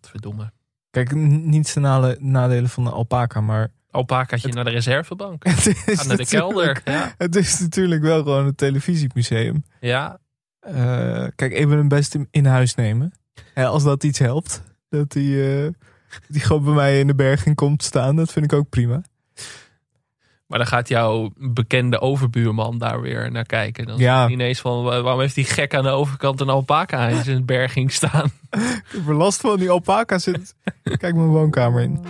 Verdomme.
Kijk, n- niet de nale- nadelen van de alpaca, maar...
Alpacaatje naar de reservebank.
Het is
Gaat naar de
natuurlijk-
kelder. Ja.
Het is natuurlijk wel gewoon een televisiemuseum.
ja.
Eh, kijk, even een best in, in huis nemen. Hè, als dat iets helpt. Dat die, eh, die gewoon bij mij in de berging komt staan. Dat vind ik ook prima.
Maar dan gaat jouw bekende overbuurman daar weer naar kijken. Dan
Ja.
ja. ineens van, wa- waarom heeft die gek aan de overkant een alpaca in zijn berging staan?
Ik heb er last van, die alpaca zit. Kijk mijn woonkamer in.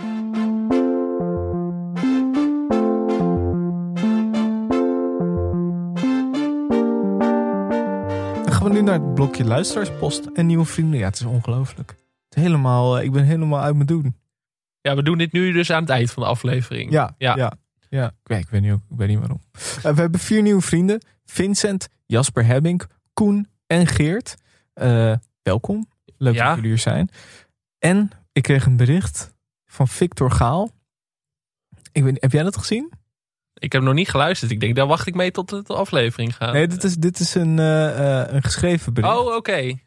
Dan gaan we nu naar het blokje luisteraarspost en nieuwe vrienden. Ja, het is ongelooflijk. Het is Helemaal, eh, ik ben helemaal uit mijn doen.
Ja, we doen dit nu dus aan het eind van de aflevering.
Ja, ja.
Ja.
ja. Ik, weet, ik weet niet, ook- ik weet niet waarom. Eh, we hebben vier nieuwe vrienden. Vincent, Jasper Hebbink, Koen en Geert. Eh, welkom. Leuk
Ja.
dat jullie er zijn. En ik kreeg een bericht van Victor Gaal. Ik weet, niet, heb jij dat gezien?
Ik heb nog niet geluisterd. Ik denk, daar wacht ik mee tot de aflevering gaat.
Nee, dit is, dit is een, eh, eh, een geschreven bericht.
Oh, oké.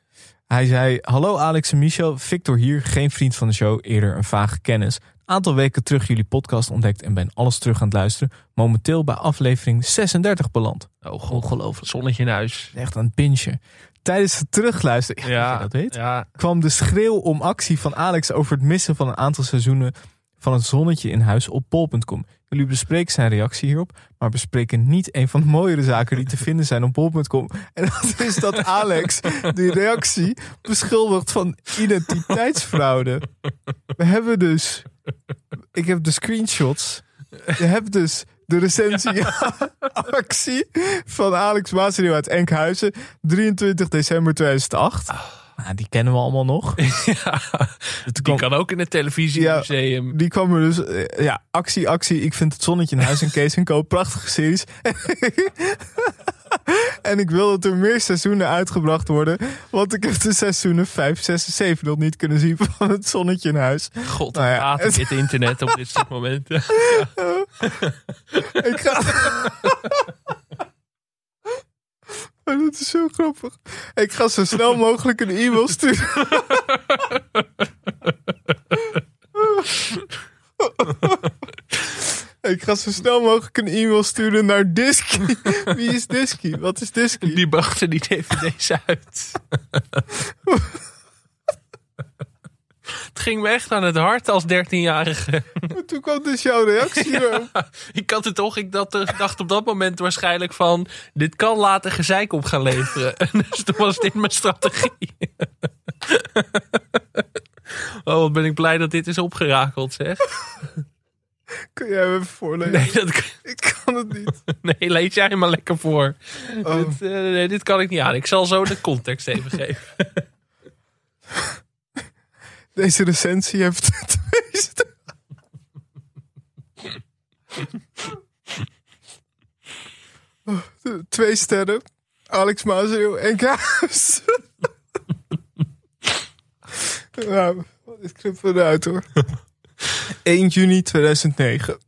Hij zei: Hallo Alex en Michel, Victor hier, geen vriend van de show, eerder een vage kennis. Een aantal weken terug jullie podcast ontdekt en ben alles terug aan het luisteren. Momenteel bij aflevering 36 beland.
Oh, god. Ongelooflijk. Zonnetje in huis.
Echt aan het pinchen. Tijdens het terugluisteren, ja, dat je dat weet,
Ja,
kwam de schreeuw om actie van Alex over het missen van een aantal seizoenen van het zonnetje in huis op bol.com. Jullie bespreken zijn reactie hierop, maar bespreken niet een van de mooiere zaken die te vinden zijn op bol.com. En dat is dat Alex die reactie beschuldigt van identiteitsfraude. We hebben dus, ik heb de screenshots, je hebt dus de recensieactie van Alex Maasnieuw uit Enkhuizen, 23 december 2008. Nou, die kennen we allemaal nog.
die kan ook in het televisiemuseum.
Die kwam er dus, eh, ja, actie, actie. Ik vind het zonnetje in huis en Kees en Co. Prachtige series. en ik wil dat er meer seizoenen uitgebracht worden. Want ik heb de seizoenen 5, 6 en 7 nog niet kunnen zien van het zonnetje in huis.
God,
Nou ja.
haat ik het internet op dit soort momenten.
Ik ga... Maar Oh, dat is zo grappig. Ik ga zo snel mogelijk een e-mail sturen. Ik ga zo snel mogelijk een e-mail sturen naar Disky. Wie is Disky? Wat is Disky?
Die brachten die dvd's uit. het ging me echt aan het hart als 13-jarige.
Maar Toen kwam dus jouw reactie erop.
Ik had het toch, ik dat, dacht op dat moment waarschijnlijk van... dit kan later gezeik op gaan leveren. dus toen was dit mijn strategie. Oh, wat ben ik blij dat dit is opgerakeld, zeg.
Kun jij hem even voorlezen?
Nee, dat,
Ik kan het niet.
nee lees jij maar lekker voor.
Oh.
Dit, eh, nee, dit kan ik niet aan. Ik zal zo de context even geven.
Deze recensie heeft het meeste. Oh, Twee sterren. Alex Mazereel en Kaas. nou, dit knipt eruit hoor. 1 juni 2009.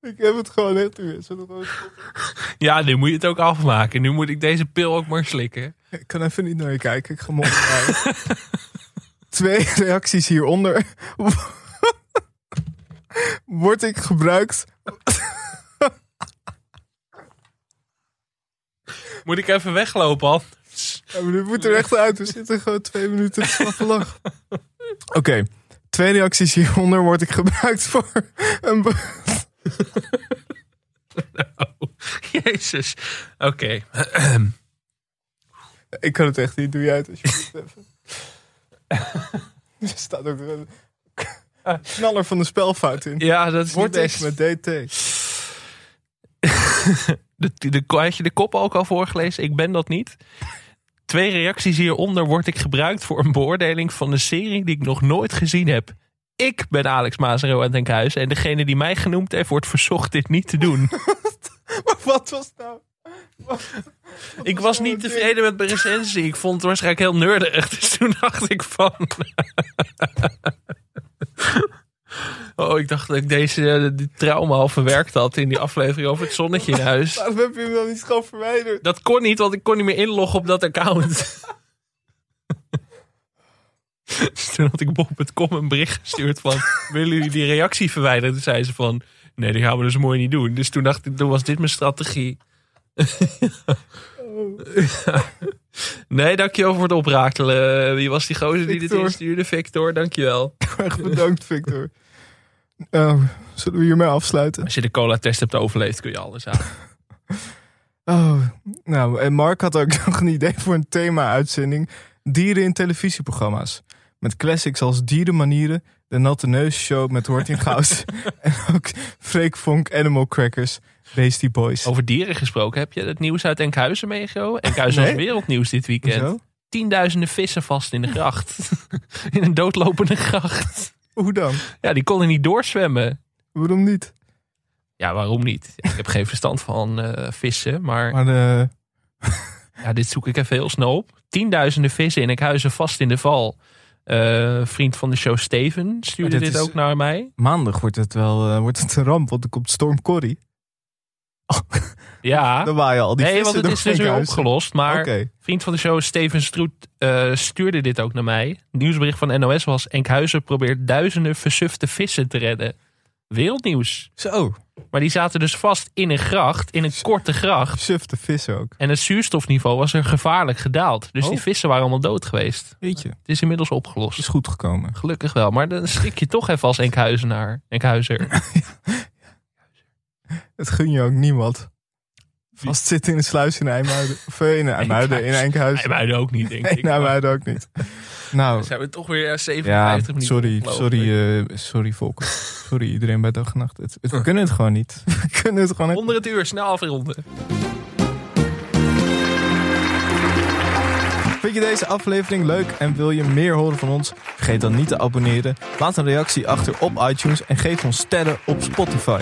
Ik heb het gewoon echt weer. Zullen we gewoon stoppen?
Ja, nu moet je het ook afmaken. Nu moet ik deze pil ook maar slikken.
Ik kan even niet naar je kijken. Ik ga mond draaien. Twee reacties hieronder. Word ik gebruikt?
Moet ik even weglopen, Han?
Ja, maar dit moet er echt uit. We zitten gewoon twee minuten te slappen lang. Oké. Twee reacties hieronder word ik gebruikt voor een... be-
Oh, jezus. Oké.
Ik kan het echt niet. Doe jij het alsjeblieft even. Er staat ook een knaller van de spelfout in.
Ja, dat is
Word
niet
ik
best.
met DT.
De, de, had je de kop ook al voorgelezen? Ik ben dat niet. Twee reacties hieronder word ik gebruikt voor een beoordeling van een serie die ik nog nooit gezien heb. Ik ben Alex Mazero uit Denkhuizen en degene die mij genoemd heeft wordt verzocht dit niet te doen.
Maar wat was nou...
Ik was niet tevreden met mijn recensie. Ik vond het waarschijnlijk heel nerdig. Dus toen dacht ik van... Oh, ik dacht dat ik deze eh, die trauma al verwerkt had in die aflevering over het zonnetje in huis.
Waarom heb je hem dan niet gewoon verwijderd?
Dat kon niet, want ik kon niet meer inloggen op dat account. Dus toen had ik bol.com een bericht gestuurd van... Willen jullie die reactie verwijderen? Toen zei ze van... Nee, die gaan we dus mooi niet doen. Dus toen dacht ik, toen was dit mijn strategie. Nee, dankjewel voor het oprakelen. Wie was die gozer die dit
Victor.
instuurde? Victor, dankjewel.
Echt bedankt, Victor. Eh, zullen we hiermee afsluiten?
Als je de cola-test hebt overleefd, kun je alles aan.
Oh, nou, en Mark had ook nog een idee voor een thema-uitzending: dieren in televisieprogramma's. Met classics als Dierenmanieren, De Natte Neus Show met Hortinghaus en ook Freek Vonk Animal Crackers, Beastie Boys.
Over dieren gesproken, heb je het nieuws uit Enkhuizen meegehouden? Enkhuizen was
Nee.
wereldnieuws dit weekend.
Hoezo?
tienduizenden vissen vast in de gracht. in een doodlopende gracht.
Hoe dan?
Ja, die konden niet doorzwemmen.
Waarom niet?
Ja, waarom niet? Ja, ik heb geen verstand van eh, vissen, maar
Maar eh, de,
ja, dit zoek ik even heel snel op. Tienduizenden vissen in Enkhuizen vast in de val. Eh, vriend van de show Steven stuurde
Maar
dit,
dit is-
ook naar mij.
maandag wordt het wel eh, wordt het een ramp, want er komt Storm Corrie.
Ja,
Dan waaien al die
nee, want
vissen
het
door
is dus weer
Enkhuizen.
opgelost. Maar
Oké,
Vriend van de show Steven Stroet eh, stuurde dit ook naar mij. Nieuwsbericht van NOS was: Enkhuizen probeert duizenden versufte vissen te redden. Wereldnieuws.
zo.
Maar die zaten dus vast in een gracht, in een korte gracht.
Sufte vissen ook.
En het zuurstofniveau was er gevaarlijk gedaald. Dus
Oh.
die vissen waren allemaal dood geweest.
Weet je,
Het is inmiddels
is
opgelost.
goed gekomen.
Gelukkig wel. Maar dan schrik je toch even als Enkhuizenaar. Enkhuizer.
Het gun je ook niemand. Vast zitten in een sluis in IJmuiden. Of eh, in IJmuiden, in Enkhuizen.
Hij mij ook niet, denk ik.
In IJmuiden ook niet. Nou,
Dan zijn we toch weer eh, 57
ja,
minuten.
sorry,
opgelopen.
sorry, eh, sorry volk. Sorry iedereen bij dag en nacht. Het, het- we kunnen het gewoon niet. We kunnen het gewoon
Onder het uur, snel afronden.
Vind je deze aflevering leuk en wil je meer horen van ons? Vergeet dan niet te abonneren. Laat een reactie achter op iTunes en geef ons sterren op Spotify.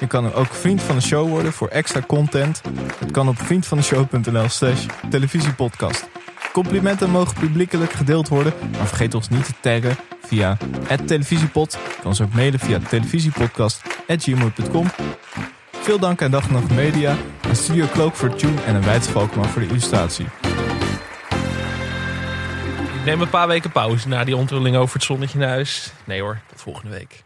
Je kan er ook vriend van de show worden voor extra content. Het kan op vriendvandeshow.nl slash televisiepodcast. Complimenten mogen publiekelijk gedeeld worden, maar vergeet ons niet te taggen via het televisiepod. Je kan ons ook mailen via televisiepodcast.gmail.com. Veel dank aan Dag en Nacht Media, aan Studio Cloak voor Tune en aan Wijts Valkman voor de illustratie.
Ik neem een paar weken pauze na die onthulling over het zonnetje naar huis. Nee hoor, tot volgende week.